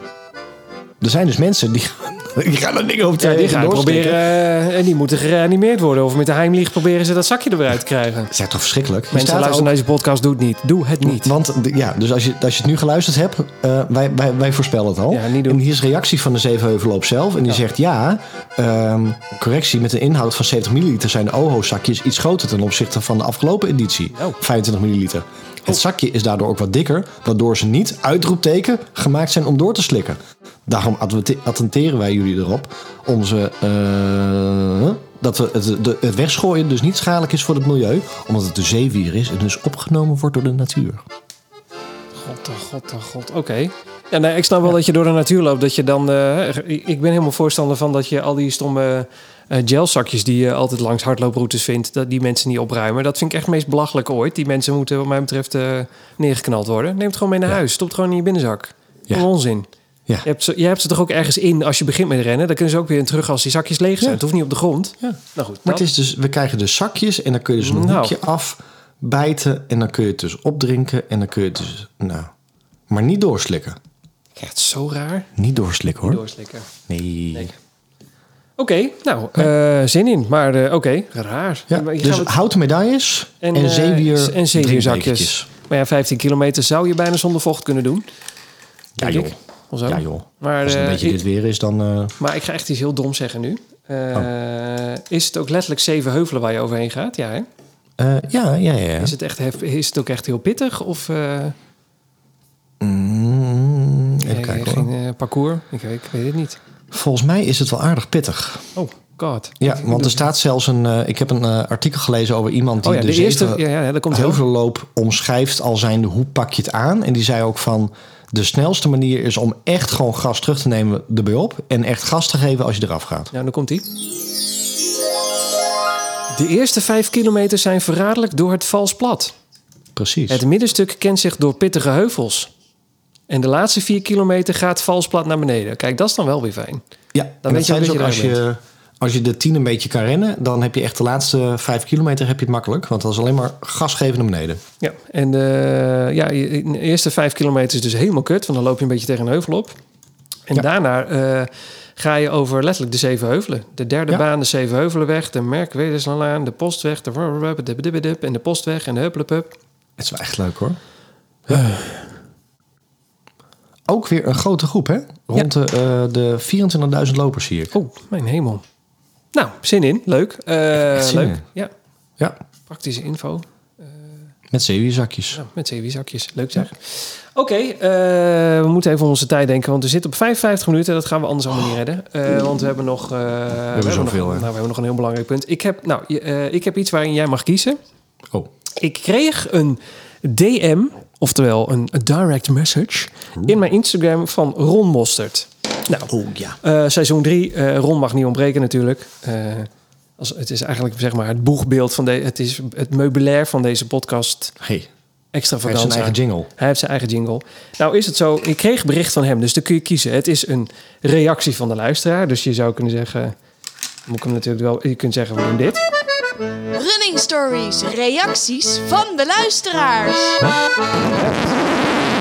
Speaker 3: Er zijn dus mensen die, [laughs] die gaan dat ding over
Speaker 2: Ja, die gaan proberen...
Speaker 3: doorslikken.
Speaker 2: eh, en die moeten gereanimeerd worden. Of met de heimlieg proberen ze dat zakje er weer uit te krijgen.
Speaker 3: Dat is toch verschrikkelijk? Hier
Speaker 2: Mensen
Speaker 3: staat er
Speaker 2: luisteren naar deze podcast, doe het niet. Doe het niet.
Speaker 3: Want de- ja, dus als je, als je het nu geluisterd hebt, eh, wij, wij, wij voorspellen het al.
Speaker 2: Ja, niet doen.
Speaker 3: en hier is reactie van de Zevenheuvelloop zelf. En die zegt ja, ehm, correctie, met een inhoud van 70 milliliter zijn de OHO-zakjes iets groter ten opzichte van de afgelopen editie.
Speaker 2: Oh.
Speaker 3: 25 milliliter. Het zakje is daardoor ook wat dikker, waardoor ze niet, uitroepteken, gemaakt zijn om door te slikken. Daarom adverte- attenteren wij jullie erop om ze, eh, dat we het, de- het weggooien dus niet schadelijk is voor het milieu, omdat het de zeewier is en dus opgenomen wordt door de natuur.
Speaker 2: God, oh god, oh god. Oké. Ja, nee, ik snap wel dat je door de natuur loopt. Dat je dan... eh, ik ben helemaal voorstander van dat je al die stomme eh, gelzakjes... die je altijd langs hardlooproutes vindt... dat die mensen niet opruimen. Dat vind ik echt het meest belachelijk ooit. Die mensen moeten wat mij betreft eh, neergeknald worden. Neem het gewoon mee naar huis. Stop het gewoon in je binnenzak.
Speaker 3: Ja.
Speaker 2: Wat een onzin.
Speaker 3: Ja.
Speaker 2: Je hebt, ze, je hebt ze toch ook ergens in als je begint met rennen? Dan kunnen ze ook weer in terug als die zakjes leeg zijn.
Speaker 3: Ja.
Speaker 2: Het hoeft niet op de grond. Nou goed.
Speaker 3: Maar
Speaker 2: dat-
Speaker 3: het is dus, we krijgen dus zakjes en dan kun je dus een
Speaker 2: Nou.
Speaker 3: hoekje afbijten en dan kun je het dus opdrinken en dan kun je het dus, nou, maar niet doorslikken.
Speaker 2: Echt zo raar.
Speaker 3: Niet doorslikken hoor.
Speaker 2: Doorslikken.
Speaker 3: Nee.
Speaker 2: Nee. Oké, nou, eh, zin in. Maar eh, oké, raar.
Speaker 3: Ja,
Speaker 2: Maar je
Speaker 3: dus
Speaker 2: gaat het-
Speaker 3: houten medailles en,
Speaker 2: eh,
Speaker 3: zeewier
Speaker 2: en zeewierzakjes.
Speaker 3: drinkbekertjes.
Speaker 2: Maar ja, 15 kilometer zou je bijna zonder vocht kunnen doen.
Speaker 3: Ja
Speaker 2: denk
Speaker 3: joh.
Speaker 2: ik. Of zo.
Speaker 3: ja joh.
Speaker 2: Maar,
Speaker 3: Als het een
Speaker 2: eh,
Speaker 3: beetje
Speaker 2: ik-
Speaker 3: dit weer is, dan... eh,
Speaker 2: Maar ik ga echt iets heel dom zeggen nu. Eh, Is het ook letterlijk zeven heuvelen waar je overheen gaat? Ja, hè?
Speaker 3: eh, Oh. ja, ja, ja. ja.
Speaker 2: Is, het echt, hef- is het ook echt heel pittig? Of eh
Speaker 3: Mm, even
Speaker 2: eh,
Speaker 3: kijken hoor.
Speaker 2: geen eh, parcours? Ik, weet- ik weet het niet.
Speaker 3: Volgens mij is het wel aardig pittig.
Speaker 2: Oh, god.
Speaker 3: Ja, want er staat zelfs een... eh, ik heb een eh, artikel gelezen over iemand die dus
Speaker 2: Oh ja,
Speaker 3: de,
Speaker 2: de eerste...
Speaker 3: zeven-
Speaker 2: Ja, ja, daar komt heel veel.
Speaker 3: heuvelloop omschrijft al zijnde hoe pak je het aan. En die zei ook van de snelste manier is om echt gewoon gas terug te nemen erbij op. En echt gas te geven als je eraf gaat.
Speaker 2: Nou, dan komt ie. De eerste vijf kilometer zijn verraderlijk door het vals plat.
Speaker 3: Precies.
Speaker 2: Het middenstuk kent zich door pittige heuvels. En de laatste vier kilometer gaat vals plat naar beneden. Kijk, dat is dan wel weer fijn.
Speaker 3: ja, en dat
Speaker 2: weet je
Speaker 3: zei
Speaker 2: dat
Speaker 3: dus
Speaker 2: je
Speaker 3: ook als
Speaker 2: eruit
Speaker 3: je, als je de tien een beetje kan rennen, dan heb je echt de laatste vijf kilometer heb je het makkelijk. Want dat is alleen maar gas geven naar beneden.
Speaker 2: Ja, en eh, ja, je- de eerste vijf kilometer is dus helemaal kut, want dan loop je een beetje tegen een heuvel op. En
Speaker 3: Ja.
Speaker 2: daarna eh, ga je over letterlijk de zeven heuvelen. De derde
Speaker 3: Ja.
Speaker 2: baan, de zeven heuvelenweg, de Merkwederslaan, de postweg, de rrrrup, de bdibbidup en de postweg en de hupplepup.
Speaker 3: Het is wel echt leuk hoor. Ook weer een grote groep hè? Rond de, eh, de 24.000 lopers zie ik.
Speaker 2: Oh, mijn hemel. Nou, zin in, leuk. Eh,
Speaker 3: echt zin
Speaker 2: leuk.
Speaker 3: in.
Speaker 2: Ja,
Speaker 3: Ja,
Speaker 2: praktische info.
Speaker 3: met zeewierzakjes.
Speaker 2: Nou, met zeewierzakjes. Leuk zeg. Oké, eh, we moeten even om onze tijd denken, want we zitten op 55 minuten. Dat gaan we anders allemaal niet redden. Eh, want we hebben nog... eh, we hebben
Speaker 3: zoveel,
Speaker 2: nog,
Speaker 3: hè?
Speaker 2: nou, we hebben nog een heel belangrijk punt. Ik heb, nou, je- eh, ik heb iets waarin jij mag kiezen.
Speaker 3: Oh,
Speaker 2: Ik kreeg een DM, oftewel een direct message, in mijn Instagram van Ron Mostert. Nou,
Speaker 3: oh ja.
Speaker 2: eh, seizoen 3, Ron mag niet ontbreken natuurlijk. Eh, als, het is eigenlijk zeg maar, het boegbeeld van de, het, is het meubilair van deze podcast
Speaker 3: Hey, hij heeft
Speaker 2: extravaganza.
Speaker 3: zijn eigen jingle.
Speaker 2: Hij heeft zijn eigen jingle. Nou is het zo, ik kreeg bericht van hem, dus dan kun je kiezen. Het is een reactie van de luisteraar, dus je zou kunnen zeggen... Moet ik hem natuurlijk wel... Je kunt zeggen, we doen dit.
Speaker 4: Running stories, reacties van de luisteraars.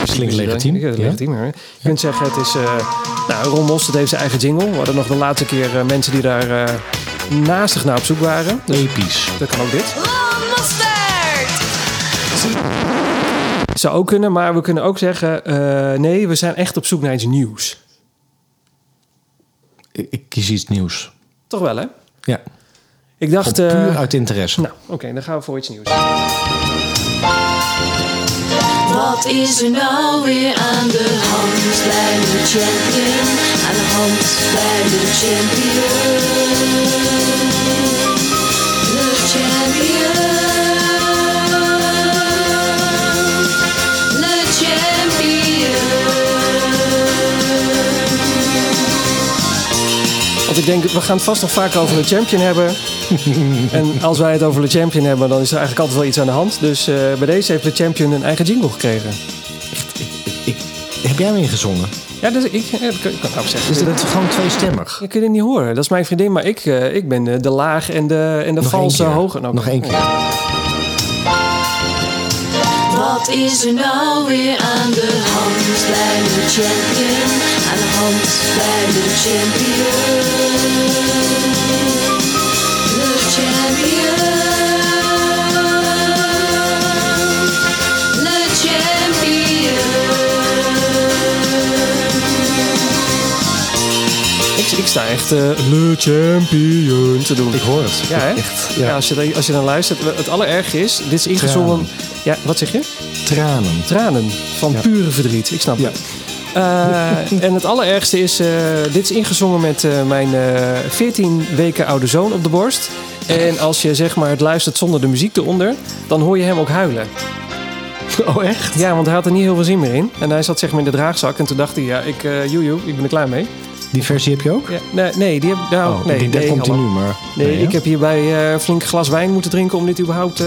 Speaker 3: Dat klinkt
Speaker 2: Dus
Speaker 3: legitiem.
Speaker 2: Ja,
Speaker 3: Ja?
Speaker 2: legitiem, hè? Je kunt zeggen, het is... eh nou, Ron Mostert heeft zijn eigen jingle. We hadden nog de laatste keer eh, mensen die daar eh, naastig naar op zoek waren.
Speaker 3: Episch.
Speaker 2: Dat kan ook dit.
Speaker 4: Ron Mostert!
Speaker 2: Zou ook kunnen, maar we kunnen ook zeggen... eh, nee, we zijn echt op zoek naar iets nieuws.
Speaker 3: Ik, ik kies iets nieuws. Toch
Speaker 2: wel, hè?
Speaker 3: Ja,
Speaker 2: Ik
Speaker 3: Komt
Speaker 2: dacht... eh,
Speaker 3: puur uit interesse.
Speaker 2: nou, oké, dan gaan we voor iets nieuws.
Speaker 5: Wat is er nou weer aan de hand bij de champion? Aan de hand bij de champion. De champion. De champion.
Speaker 2: Want ik denk, we gaan het vast nog vaak over de champion hebben. [laughs] en als wij het over de champion hebben, dan is er eigenlijk altijd wel iets aan de hand. Dus eh, bij deze heeft de champion een eigen jingle gekregen.
Speaker 3: Ik, heb jij hem ingezongen?
Speaker 2: Ja, dus ik, eh, dat kan ik nou zeggen.
Speaker 3: Is dit gewoon tweestemmig?
Speaker 2: Je kunt het niet horen. Dat is mijn vriendin, maar ik, eh, ik ben eh, de laag en de, en de
Speaker 3: Nog één
Speaker 2: valse
Speaker 3: keer.
Speaker 2: hoge. Nou,
Speaker 3: Nog één keer.
Speaker 5: Wat is er nou weer aan de hand bij de champion? Aan de hand bij de champion. De champion. De champion.
Speaker 2: Ik, ik sta echt eh de champion te doen.
Speaker 3: Ik hoor het.
Speaker 2: ja, hè?
Speaker 3: Echt.
Speaker 2: Ja,
Speaker 3: Ja.
Speaker 2: als, je, dan- als je dan luistert. Het allerergste is, dit is ingezongen... Ja, wat zeg je? [laughs]
Speaker 3: Tranen.
Speaker 2: Tranen van
Speaker 3: Ja.
Speaker 2: pure verdriet. Ik snap
Speaker 3: Ja.
Speaker 2: het. Eh, en het allerergste is, eh, dit is ingezongen met eh, mijn eh 14 weken oude zoon op de borst. En als je zeg maar, het luistert zonder de muziek eronder, dan hoor je hem ook huilen.
Speaker 3: Oh, echt?
Speaker 2: Ja, want hij had er niet heel veel zin meer in. En hij zat zeg maar in de draagzak en toen dacht hij, ja, ik, eh joe, joe, ik ben er klaar mee.
Speaker 3: Die versie heb je ook?
Speaker 2: Ja, nee, nee, die heb nou,
Speaker 3: Oh,
Speaker 2: nee,
Speaker 3: ik denk,
Speaker 2: nee,
Speaker 3: daar komt hij
Speaker 2: hallo.
Speaker 3: nu, maar...
Speaker 2: Nee,
Speaker 3: hè?
Speaker 2: ik heb hierbij eh, een flink glas wijn moeten drinken om dit überhaupt eh,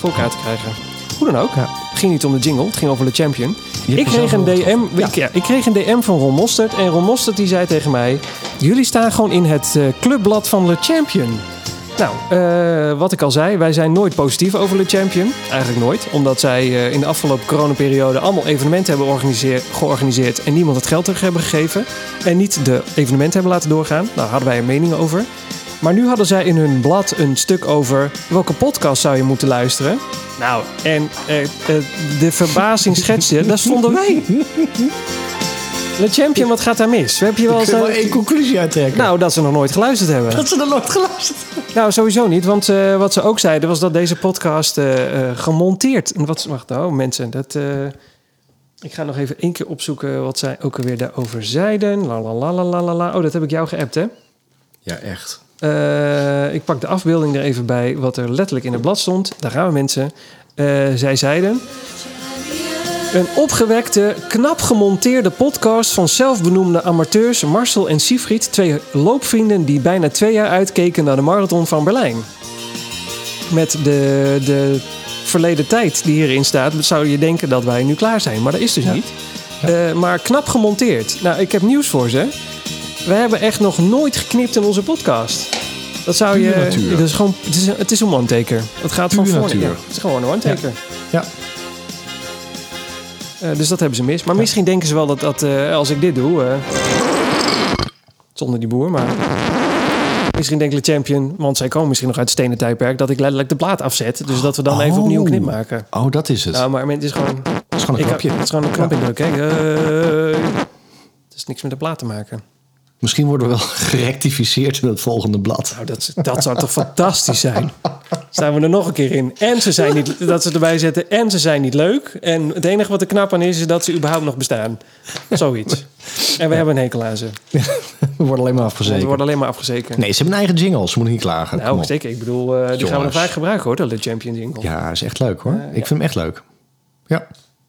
Speaker 2: voor elkaar te krijgen. Hoe dan ook.
Speaker 3: Ja.
Speaker 2: Het ging niet om de jingle, het ging over de champion.
Speaker 3: hebt
Speaker 2: Ik kreeg,
Speaker 3: jezelf
Speaker 2: een
Speaker 3: wel
Speaker 2: DM,
Speaker 3: getroffen. Ja.
Speaker 2: ik, ja, ik kreeg een DM van Ron Mostert. En Ron Mostert die zei tegen mij... Jullie staan gewoon in het eh, clubblad van Le Champion. Nou, eh, wat ik al zei, wij zijn nooit positief over Le Champion. Eigenlijk nooit. Omdat zij eh, in de afgelopen coronaperiode allemaal evenementen hebben organiseer- georganiseerd. En niemand het geld terug hebben gegeven. En niet de evenementen hebben laten doorgaan. Daar hadden wij een mening over. Maar nu hadden zij in hun blad een stuk over welke podcast zou je moeten luisteren. Nou, en eh, eh, de verbazing schetste, daar stonden
Speaker 3: [laughs]
Speaker 2: wij. Le Champion, wat gaat daar mis? Heb je wel eens
Speaker 3: Kun je wel
Speaker 2: naar-
Speaker 3: één conclusie uittrekken?
Speaker 2: Nou, dat ze nog nooit geluisterd hebben.
Speaker 3: dat ze er nooit geluisterd hebben.
Speaker 2: Nou, sowieso niet. Want eh, wat ze ook zeiden was dat deze podcast eh, eh, gemonteerd... en Wat, wacht nou, mensen. Dat, eh, ik ga nog even één keer opzoeken wat zij ook alweer daarover zeiden. La la la la la la la. Oh, dat heb ik jou geappt, hè?
Speaker 3: Ja, echt.
Speaker 2: Eh, ik pak de afbeelding er even bij, wat er letterlijk in het blad stond. Daar gaan we, mensen. Eh, zij zeiden... Een opgewekte, knap gemonteerde podcast van zelfbenoemde amateurs Marcel en Siegfried. Twee loopvrienden die bijna twee jaar uitkeken naar de marathon van Berlijn. Met de, de verleden tijd die hierin staat, zou je denken dat wij nu klaar zijn. Maar dat is dus niet. Eh, maar knap gemonteerd. Nou, ik heb nieuws voor ze. We hebben echt nog nooit geknipt in onze podcast. Dat zou je.
Speaker 3: Pure natuur.
Speaker 2: Dat is gewoon, het, is, het is een one-taker. Het gaat van
Speaker 3: Pure
Speaker 2: voor.
Speaker 3: natuur.
Speaker 2: Ja, het is gewoon een one-taker.
Speaker 3: Ja.
Speaker 2: Eh, dus dat hebben ze mis. Maar misschien denken ze wel dat, dat eh, als ik dit doe. eh, zonder die boer, maar. Misschien denkt de champion, want zij komen misschien nog uit het stenen tijdperk, dat ik letterlijk de plaat afzet. Dus dat we dan even
Speaker 3: Oh.
Speaker 2: opnieuw een knip maken.
Speaker 3: Oh, dat is het.
Speaker 2: Nou, maar het is gewoon.
Speaker 3: dat is gewoon
Speaker 2: ik-
Speaker 3: een knapje.
Speaker 2: Het is gewoon een knap indruk. Kijk, eh, het is niks met de plaat te maken.
Speaker 3: Misschien worden we wel [laughs] gerectificeerd in het volgende blad.
Speaker 2: Nou, dat, dat zou toch fantastisch zijn? Staan we er nog een keer in. En ze zijn niet, dat ze erbij zetten. En ze zijn niet leuk. En het enige wat er knap aan is, is dat ze überhaupt nog bestaan. Zoiets. En we hebben een hekel aan ze. Want
Speaker 3: We worden alleen maar
Speaker 2: we
Speaker 3: afgezekerd.
Speaker 2: worden alleen maar afgezeken.
Speaker 3: Nee, ze hebben een eigen jingle. Ze moeten niet klagen. Kom
Speaker 2: nou,
Speaker 3: op.
Speaker 2: zeker. Ik bedoel, eh, die gaan we nog
Speaker 3: Jongens.
Speaker 2: vaak gebruiken hoor, dat de Champion Jingle.
Speaker 3: Ja, is echt leuk hoor. ik vind hem echt leuk. Ja.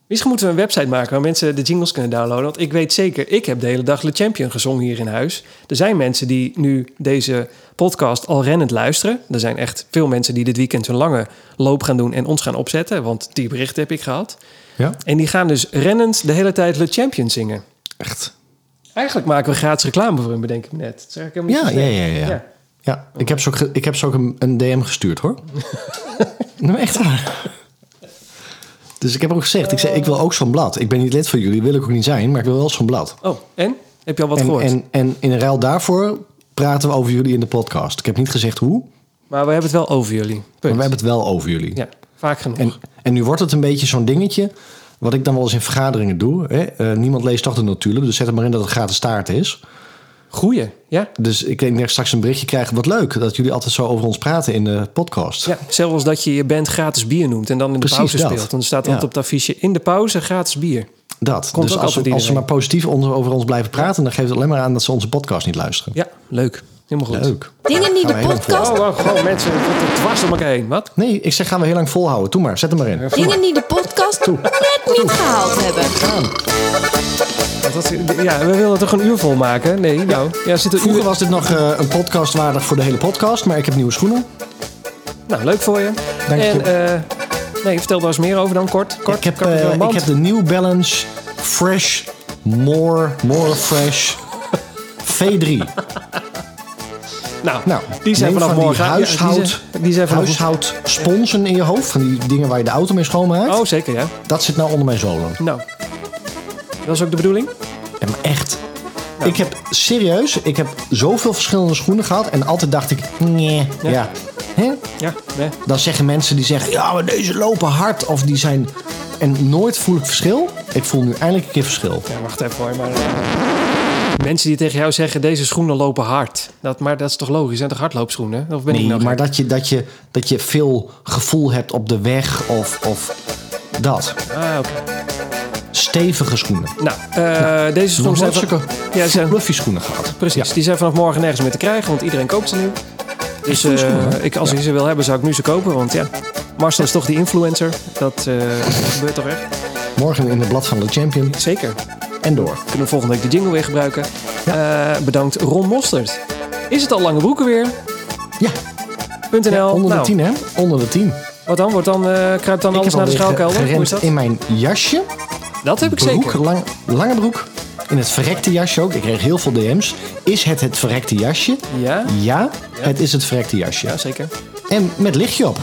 Speaker 2: Misschien moeten we een website maken waar mensen de jingles kunnen downloaden. Want ik weet zeker, ik heb de hele dag Le Champion gezongen hier in huis. Er zijn mensen die nu deze podcast al rennend luisteren. Er zijn echt veel mensen die dit weekend hun lange loop gaan doen en ons gaan opzetten. Want die berichten heb ik gehad.
Speaker 3: Ja,
Speaker 2: En die gaan dus rennend de hele tijd Le Champion zingen.
Speaker 3: echt.
Speaker 2: Eigenlijk maken we gratis reclame voor hun, bedenk ik me net. Dat zeg ik helemaal
Speaker 3: Ja,
Speaker 2: niet
Speaker 3: ja,
Speaker 2: zo
Speaker 3: ja,
Speaker 2: slecht.
Speaker 3: ja. ja. ja. Ik, heb ze ook, ge- ik heb ze ook een, een DM gestuurd hoor. nou, echt waar. Dus ik heb ook gezegd, ik, zei, ik wil ook zo'n blad. Ik ben niet lid van jullie, wil ik ook niet zijn, maar ik wil wel zo'n blad.
Speaker 2: Oh, en? Heb je al wat
Speaker 3: En,
Speaker 2: gehoord?
Speaker 3: en, en in ruil daarvoor praten we over jullie in de podcast. Ik heb niet gezegd hoe, maar
Speaker 2: Maar we hebben het wel over jullie.
Speaker 3: we
Speaker 2: Punt.
Speaker 3: hebben het wel over jullie.
Speaker 2: Ja, vaak genoeg.
Speaker 3: En, en nu wordt het een beetje zo'n dingetje. Wat ik dan wel eens in vergaderingen doe. Hè? Eh, niemand leest toch de notulen. Dus zet er maar in dat het gratis taart is.
Speaker 2: Groeien, ja?
Speaker 3: Dus ik denk dat ik straks een berichtje krijg. Wat leuk dat jullie altijd zo over ons praten in de podcast.
Speaker 2: Ja, zelfs dat je je band gratis bier noemt en dan in de
Speaker 3: Precies
Speaker 2: pauze
Speaker 3: dat.
Speaker 2: speelt. Dan staat dat
Speaker 3: Ja.
Speaker 2: op het affiche in de pauze gratis bier.
Speaker 3: dat.
Speaker 2: Komt
Speaker 3: dus
Speaker 2: ook
Speaker 3: als, we-
Speaker 2: altijd
Speaker 3: als ze
Speaker 2: iedereen.
Speaker 3: maar positief onder- over ons blijven praten. Dan geeft het alleen maar aan dat ze onze podcast niet luisteren.
Speaker 2: Ja, leuk. Helemaal goed.
Speaker 3: Leuk.
Speaker 5: Dingen die
Speaker 3: Gaan we
Speaker 5: de
Speaker 3: heel lang
Speaker 5: podcast,
Speaker 2: Oh, oh, oh, mensen, wat er dwars om elkaar heen. Wat?
Speaker 3: Nee, ik zeg gaan we heel lang volhouden. Doe maar, zet hem maar in.
Speaker 5: dingen die de podcast net niet gehaald hebben.
Speaker 2: Dat- dat- Ja, we wilden toch een uur vol maken? Nee, nou. Ja, zit een uur...
Speaker 3: Vroeger was dit nog eh, een podcast waardig voor de hele podcast. Maar ik heb nieuwe schoenen.
Speaker 2: Nou, leuk voor je.
Speaker 3: Dank je.
Speaker 2: en, eh, nee, vertel daar eens meer over dan, kort. kort
Speaker 3: Ik heb,
Speaker 2: Kort,
Speaker 3: eh,
Speaker 2: kort, want-
Speaker 3: ik heb de New Balance Fresh More, More
Speaker 2: [laughs]
Speaker 3: Fresh V3.
Speaker 2: nou,
Speaker 3: Nou,
Speaker 2: die zijn
Speaker 3: neem
Speaker 2: vanaf
Speaker 3: van
Speaker 2: morgen...
Speaker 3: Die
Speaker 2: ja,
Speaker 3: huishoud,
Speaker 2: die zijn, die zijn vanaf...
Speaker 3: huishoudsponsen in je hoofd. Van die dingen waar je de auto mee schoonmaakt.
Speaker 2: Oh, zeker, ja.
Speaker 3: Dat zit nou onder mijn zolen.
Speaker 2: Nou. Dat is ook de bedoeling?
Speaker 3: Ja, maar echt. Ik heb serieus, ik heb zoveel verschillende schoenen gehad. En altijd dacht ik, nee, ja. Hè?
Speaker 2: Ja, nee.
Speaker 3: Dan zeggen mensen die zeggen, ja, maar deze lopen hard. Of die zijn... En nooit voel ik verschil. Ik voel nu eindelijk een keer verschil.
Speaker 2: Ja, wacht even hoor. Maar, eh, Mensen die tegen jou zeggen, deze schoenen lopen hard. Dat, maar dat is toch logisch? Zijn toch hardloopschoenen? Of ben ik
Speaker 3: Nee,
Speaker 2: nou
Speaker 3: maar
Speaker 2: gek?
Speaker 3: dat je, dat, je, dat je veel gevoel hebt op de weg of, of dat.
Speaker 2: Ah, oké.
Speaker 3: Stevige schoenen.
Speaker 2: Nou, eh, deze schoenen
Speaker 3: Nog
Speaker 2: zijn...
Speaker 3: nooit
Speaker 2: van-
Speaker 3: zulke
Speaker 2: Ja, ze zijn-
Speaker 3: fluffy schoenen gehad.
Speaker 2: Precies,
Speaker 3: Ja.
Speaker 2: die zijn vanaf morgen nergens meer te krijgen, want iedereen koopt ze nu. Dus eh, ik, als ik ze wil hebben, zou ik nu ze kopen. Want ja, Marcel is toch die influencer. Dat eh, gebeurt toch echt?
Speaker 3: Morgen in de blad van de Champion.
Speaker 2: Zeker.
Speaker 3: En door.
Speaker 2: Kunnen we volgende week de jingle weer gebruiken. Eh, bedankt Ron Mostert. Is het al lange broeken weer?
Speaker 3: Ja,
Speaker 2: .nl.
Speaker 3: onder
Speaker 2: nou,
Speaker 3: de tien hè? Onder de tien.
Speaker 2: Wat dan? Wordt dan eh kruipt dan
Speaker 3: Ik
Speaker 2: alles
Speaker 3: heb
Speaker 2: naar de
Speaker 3: alweer ge-
Speaker 2: schouwkelder? Hoe is
Speaker 3: gerend
Speaker 2: dat?
Speaker 3: in mijn jasje.
Speaker 2: Dat heb ik
Speaker 3: Broek,
Speaker 2: zeker.
Speaker 3: lang- lange broek. in het verrekte jasje ook. Ik kreeg heel veel DM's. Is het het verrekte jasje?
Speaker 2: Ja?
Speaker 3: Ja, het is het verrekte jasje.
Speaker 2: Ja, zeker.
Speaker 3: En met lichtje op.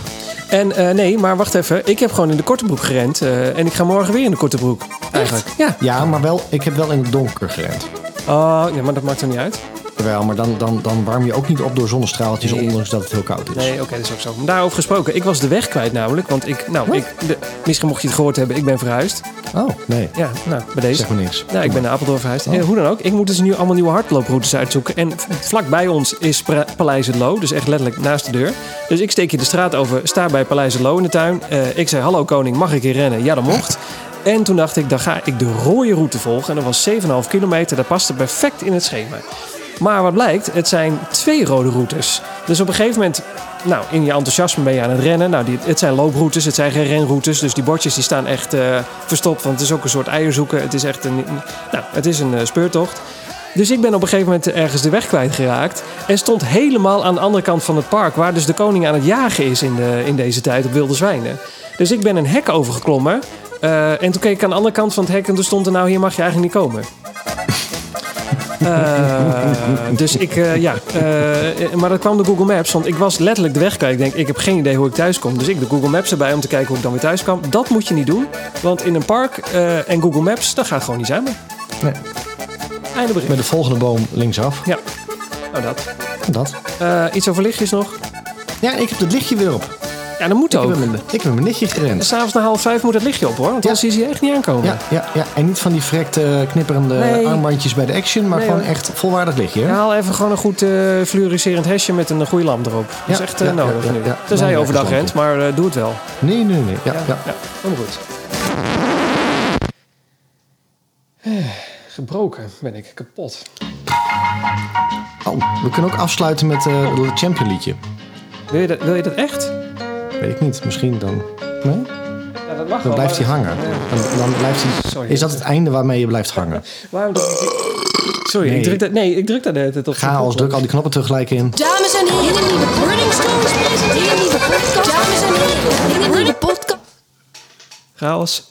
Speaker 2: En eh, nee, maar wacht even. Ik heb gewoon in de korte broek gerend. eh, en ik ga morgen weer in de korte broek. Eigenlijk. Ja.
Speaker 3: Ja, maar wel, ik heb wel in het donker gerend.
Speaker 2: Oh, ja, maar dat maakt er niet uit.
Speaker 3: Jawel, maar dan, dan, dan warm je ook niet op door zonnestraaltjes,
Speaker 2: Nee.
Speaker 3: ondanks dat het heel koud is.
Speaker 2: Nee, oké, dat is ook zo. Maar daarover gesproken. Ik was de weg kwijt namelijk. Want ik, nou, ik, de- misschien mocht je het gehoord hebben. Ik ben verhuisd.
Speaker 3: Oh, nee.
Speaker 2: Ja, nou, bij deze.
Speaker 3: Zeg maar niks. Oh.
Speaker 2: Ja, ik ben naar Apeldoorn verhuisd. Eh, hoe dan ook, ik moet dus nu allemaal nieuwe hardlooproutes uitzoeken. En v- vlakbij ons is Pra- Paleis het Loo, dus echt letterlijk naast de deur. Dus ik steek je de straat over, sta bij Paleis het Loo in de tuin. Eh, ik zei, hallo koning, mag ik hier rennen? Ja, dat mocht. En toen dacht ik, dan ga ik de rode route volgen. En dat was 7,5 kilometer, dat paste perfect in het schema. Maar wat blijkt, het zijn twee rode routes. Dus op een gegeven moment, nou, in je enthousiasme ben je aan het rennen. Nou, die, het zijn looproutes, het zijn geen renroutes. Dus die bordjes die staan echt eh, verstopt, want het is ook een soort eierzoeken. Het is echt een, nou, het is een eh, speurtocht. Dus ik ben op een gegeven moment ergens de weg kwijtgeraakt. En stond helemaal aan de andere kant van het park. Waar dus de koning aan het jagen is in, de, in deze tijd op wilde zwijnen. Dus ik ben een hek overgeklommen. eh, en toen keek ik aan de andere kant van het hek. En toen stond er nou hier mag je eigenlijk niet komen. Eh, dus ik, eh, ja. eh, maar dat kwam door Google Maps. Want ik was letterlijk de weg kwijt. Ik denk, ik heb geen idee hoe ik thuis kom. Dus ik de Google Maps erbij om te kijken hoe ik dan weer thuis kwam. Dat moet je niet doen. Want in een park eh, en Google Maps, dat gaat gewoon niet zijn.
Speaker 3: Nee.
Speaker 2: Einde bericht.
Speaker 3: Met de volgende boom linksaf.
Speaker 2: Ja. Nou, dat.
Speaker 3: Dat.
Speaker 2: Eh, iets over lichtjes nog?
Speaker 3: Ja, ik heb het lichtje weer op.
Speaker 2: Ja, dat moet
Speaker 3: Ik
Speaker 2: ook.
Speaker 3: heb, mijn, ik heb mijn lichtje gerend.
Speaker 2: S'avonds na half vijf moet het lichtje op hoor, want
Speaker 3: Ja.
Speaker 2: anders is hij echt niet aankomen.
Speaker 3: Ja, ja, ja, en niet van die verrekte eh, knipperende
Speaker 2: Nee.
Speaker 3: armbandjes bij de action, maar
Speaker 2: Nee,
Speaker 3: gewoon
Speaker 2: hoor.
Speaker 3: echt volwaardig lichtje. hè?
Speaker 2: Ja, Haal even gewoon een goed eh, fluoriserend hesje met een goede lamp erop. Dat is
Speaker 3: Ja,
Speaker 2: echt eh,
Speaker 3: ja,
Speaker 2: nodig
Speaker 3: ja, ja,
Speaker 2: nu.
Speaker 3: ja.
Speaker 2: Tenzij je
Speaker 3: Nee,
Speaker 2: overdag
Speaker 3: gezond.
Speaker 2: rent, maar eh, doe het wel.
Speaker 3: Nee, nee, nee. Ja, ja.
Speaker 2: ja. helemaal goed. Eh, Gebroken ben ik, kapot.
Speaker 3: Oh, we kunnen ook afsluiten met eh, het champion liedje.
Speaker 2: Wil je dat, wil je dat echt?
Speaker 3: Weet ik niet, misschien dan. Nee?
Speaker 2: Ja, dat mag
Speaker 3: Dan
Speaker 2: wel.
Speaker 3: blijft hij
Speaker 2: maar-
Speaker 3: hangen. Dan, dan blijft hij,
Speaker 2: Oh, Sorry.
Speaker 3: is dat het einde waarmee je blijft hangen?
Speaker 2: Waarom druk ik- Sorry,
Speaker 3: Nee.
Speaker 2: ik druk dat, nee, ik druk daar de hele tijd op.
Speaker 3: Ga als druk al die knoppen tegelijk in.
Speaker 5: Dames en heren, nieuwe Burning Stones presenteert nieuwe podcast. Dames en heren, nieuwe podcast.
Speaker 2: Chaos.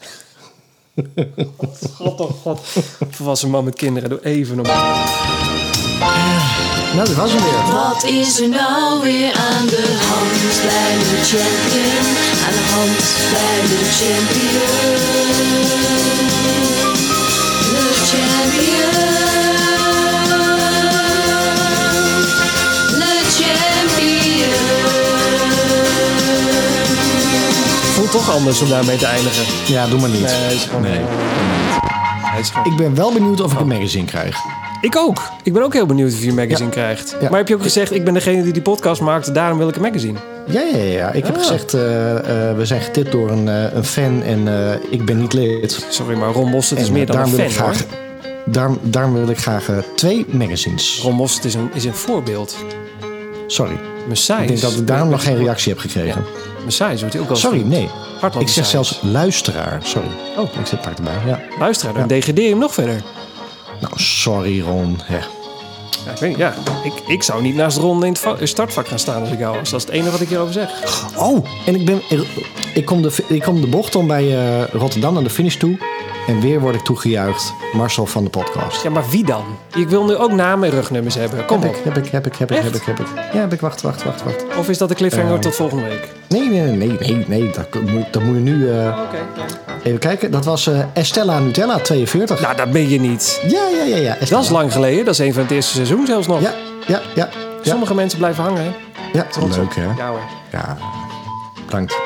Speaker 2: God, oh god. Volwassen man met kinderen, doe even normaal.
Speaker 3: Nou, dat was hem weer.
Speaker 5: Wat is er nou weer aan de hand bij de champion? Aan de hand bij de champion. De champion. De champion.
Speaker 2: Voelt toch anders om daarmee te eindigen.
Speaker 3: Ja, doe maar niet.
Speaker 2: Nee, hij is gewoon...
Speaker 3: Nee.
Speaker 2: Hij is gewoon...
Speaker 3: Ik ben wel benieuwd of ik
Speaker 2: Oh.
Speaker 3: een magazine krijg.
Speaker 2: Ik ook. Ik ben ook heel benieuwd of je een magazine
Speaker 3: Ja.
Speaker 2: krijgt.
Speaker 3: Ja.
Speaker 2: Maar heb je ook gezegd, ik ben degene die die podcast maakt, daarom wil ik een magazine.
Speaker 3: Ja, ja, ja, ja. Ik
Speaker 2: Ah.
Speaker 3: heb gezegd, eh, eh, we zijn getipt door een, eh, een fan en eh, ik ben niet lid.
Speaker 2: Sorry, maar Ron Bos, het is
Speaker 3: En,
Speaker 2: meer
Speaker 3: eh,
Speaker 2: dan een
Speaker 3: daarom wil
Speaker 2: fan
Speaker 3: ik graag,
Speaker 2: hoor.
Speaker 3: Daarom, daarom wil ik graag eh, twee magazines.
Speaker 2: Ron Bos, het is een, is een voorbeeld.
Speaker 3: Sorry.
Speaker 2: Messias.
Speaker 3: Ik denk dat ik daarom nog geen reactie heb gekregen.
Speaker 2: Messias wordt hij ook wel eens
Speaker 3: Sorry,
Speaker 2: genoemd.
Speaker 3: nee.
Speaker 2: Hardloop
Speaker 3: Ik zeg
Speaker 2: Messias.
Speaker 3: zelfs luisteraar. Sorry.
Speaker 2: Oh.
Speaker 3: Ik zit pak erbij. Ja.
Speaker 2: Luisteraar, dan degradeer je hem nog verder.
Speaker 3: Nou, sorry Ron. Ja.
Speaker 2: Ja, ik weet niet, ja. Ik, ik zou niet naast Ron in het va- startvak gaan staan als ik jou was. Dat is het enige wat ik hierover zeg.
Speaker 3: Oh, en ik, ben, ik, kom de, ik kom de bocht om bij eh, Rotterdam naar de finish toe. En weer word ik toegejuicht. Marcel van de podcast.
Speaker 2: Ja, maar wie dan? Ik wil nu ook namen en rugnummers hebben. Kom
Speaker 3: heb
Speaker 2: op.
Speaker 3: ik, heb ik, heb ik, heb ik, heb
Speaker 2: Echt?
Speaker 3: ik, heb ik. Ja, heb ik. Wacht, wacht, wacht, wacht.
Speaker 2: Of is dat de cliffhanger
Speaker 3: Eh.
Speaker 2: tot volgende week?
Speaker 3: Nee, nee, nee, nee, nee. nee. Dat, moet, dat moet je nu eh,
Speaker 2: Oké.
Speaker 3: even kijken. Dat was eh, Estella Nutella 42.
Speaker 2: Nou, dat ben je niet.
Speaker 3: Ja, ja, ja, ja. Estella.
Speaker 2: Dat is lang geleden. Dat is een van het eerste seizoen zelfs nog.
Speaker 3: Ja, ja, ja. Ja,
Speaker 2: Sommige mensen blijven hangen, hè?
Speaker 3: ja.
Speaker 2: Trots op.
Speaker 3: leuk hè.
Speaker 2: Ja hoor.
Speaker 3: Ja, bedankt.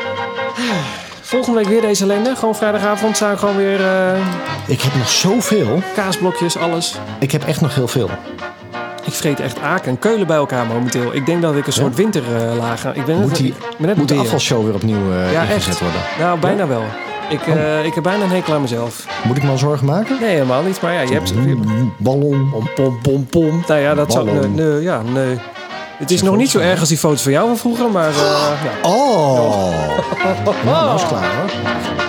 Speaker 2: Volgende week weer deze ellende. Gewoon vrijdagavond staan gewoon weer eh,
Speaker 3: Ik heb nog zoveel.
Speaker 2: kaasblokjes, alles.
Speaker 3: Ik heb echt nog heel veel.
Speaker 2: Ik vreet echt aken en keulen bij elkaar momenteel. Ik denk dat ik een soort winterlaag ga. Ik ben net,
Speaker 3: Moet, die,
Speaker 2: ik ben net
Speaker 3: moet de
Speaker 2: weer.
Speaker 3: afvalshow weer opnieuw eh
Speaker 2: Ja,
Speaker 3: ingezet
Speaker 2: echt.
Speaker 3: worden?
Speaker 2: Nou, bijna wel. Ik, eh, ik heb bijna een hekel aan mezelf.
Speaker 3: Moet ik me al zorgen maken? Mm,
Speaker 2: Nee, helemaal niet. Maar ja, je hebt...
Speaker 3: Ballon.
Speaker 2: Pom, pom, pom, pom. Nou ja, dat zou... Nee,
Speaker 3: Ballon.
Speaker 2: nee, ja, nee. Het is nog niet zo erg als [laughs] die foto's van jou van vroeger, maar... eh, ja.
Speaker 3: Oh! Nou, dat is klaar hoor.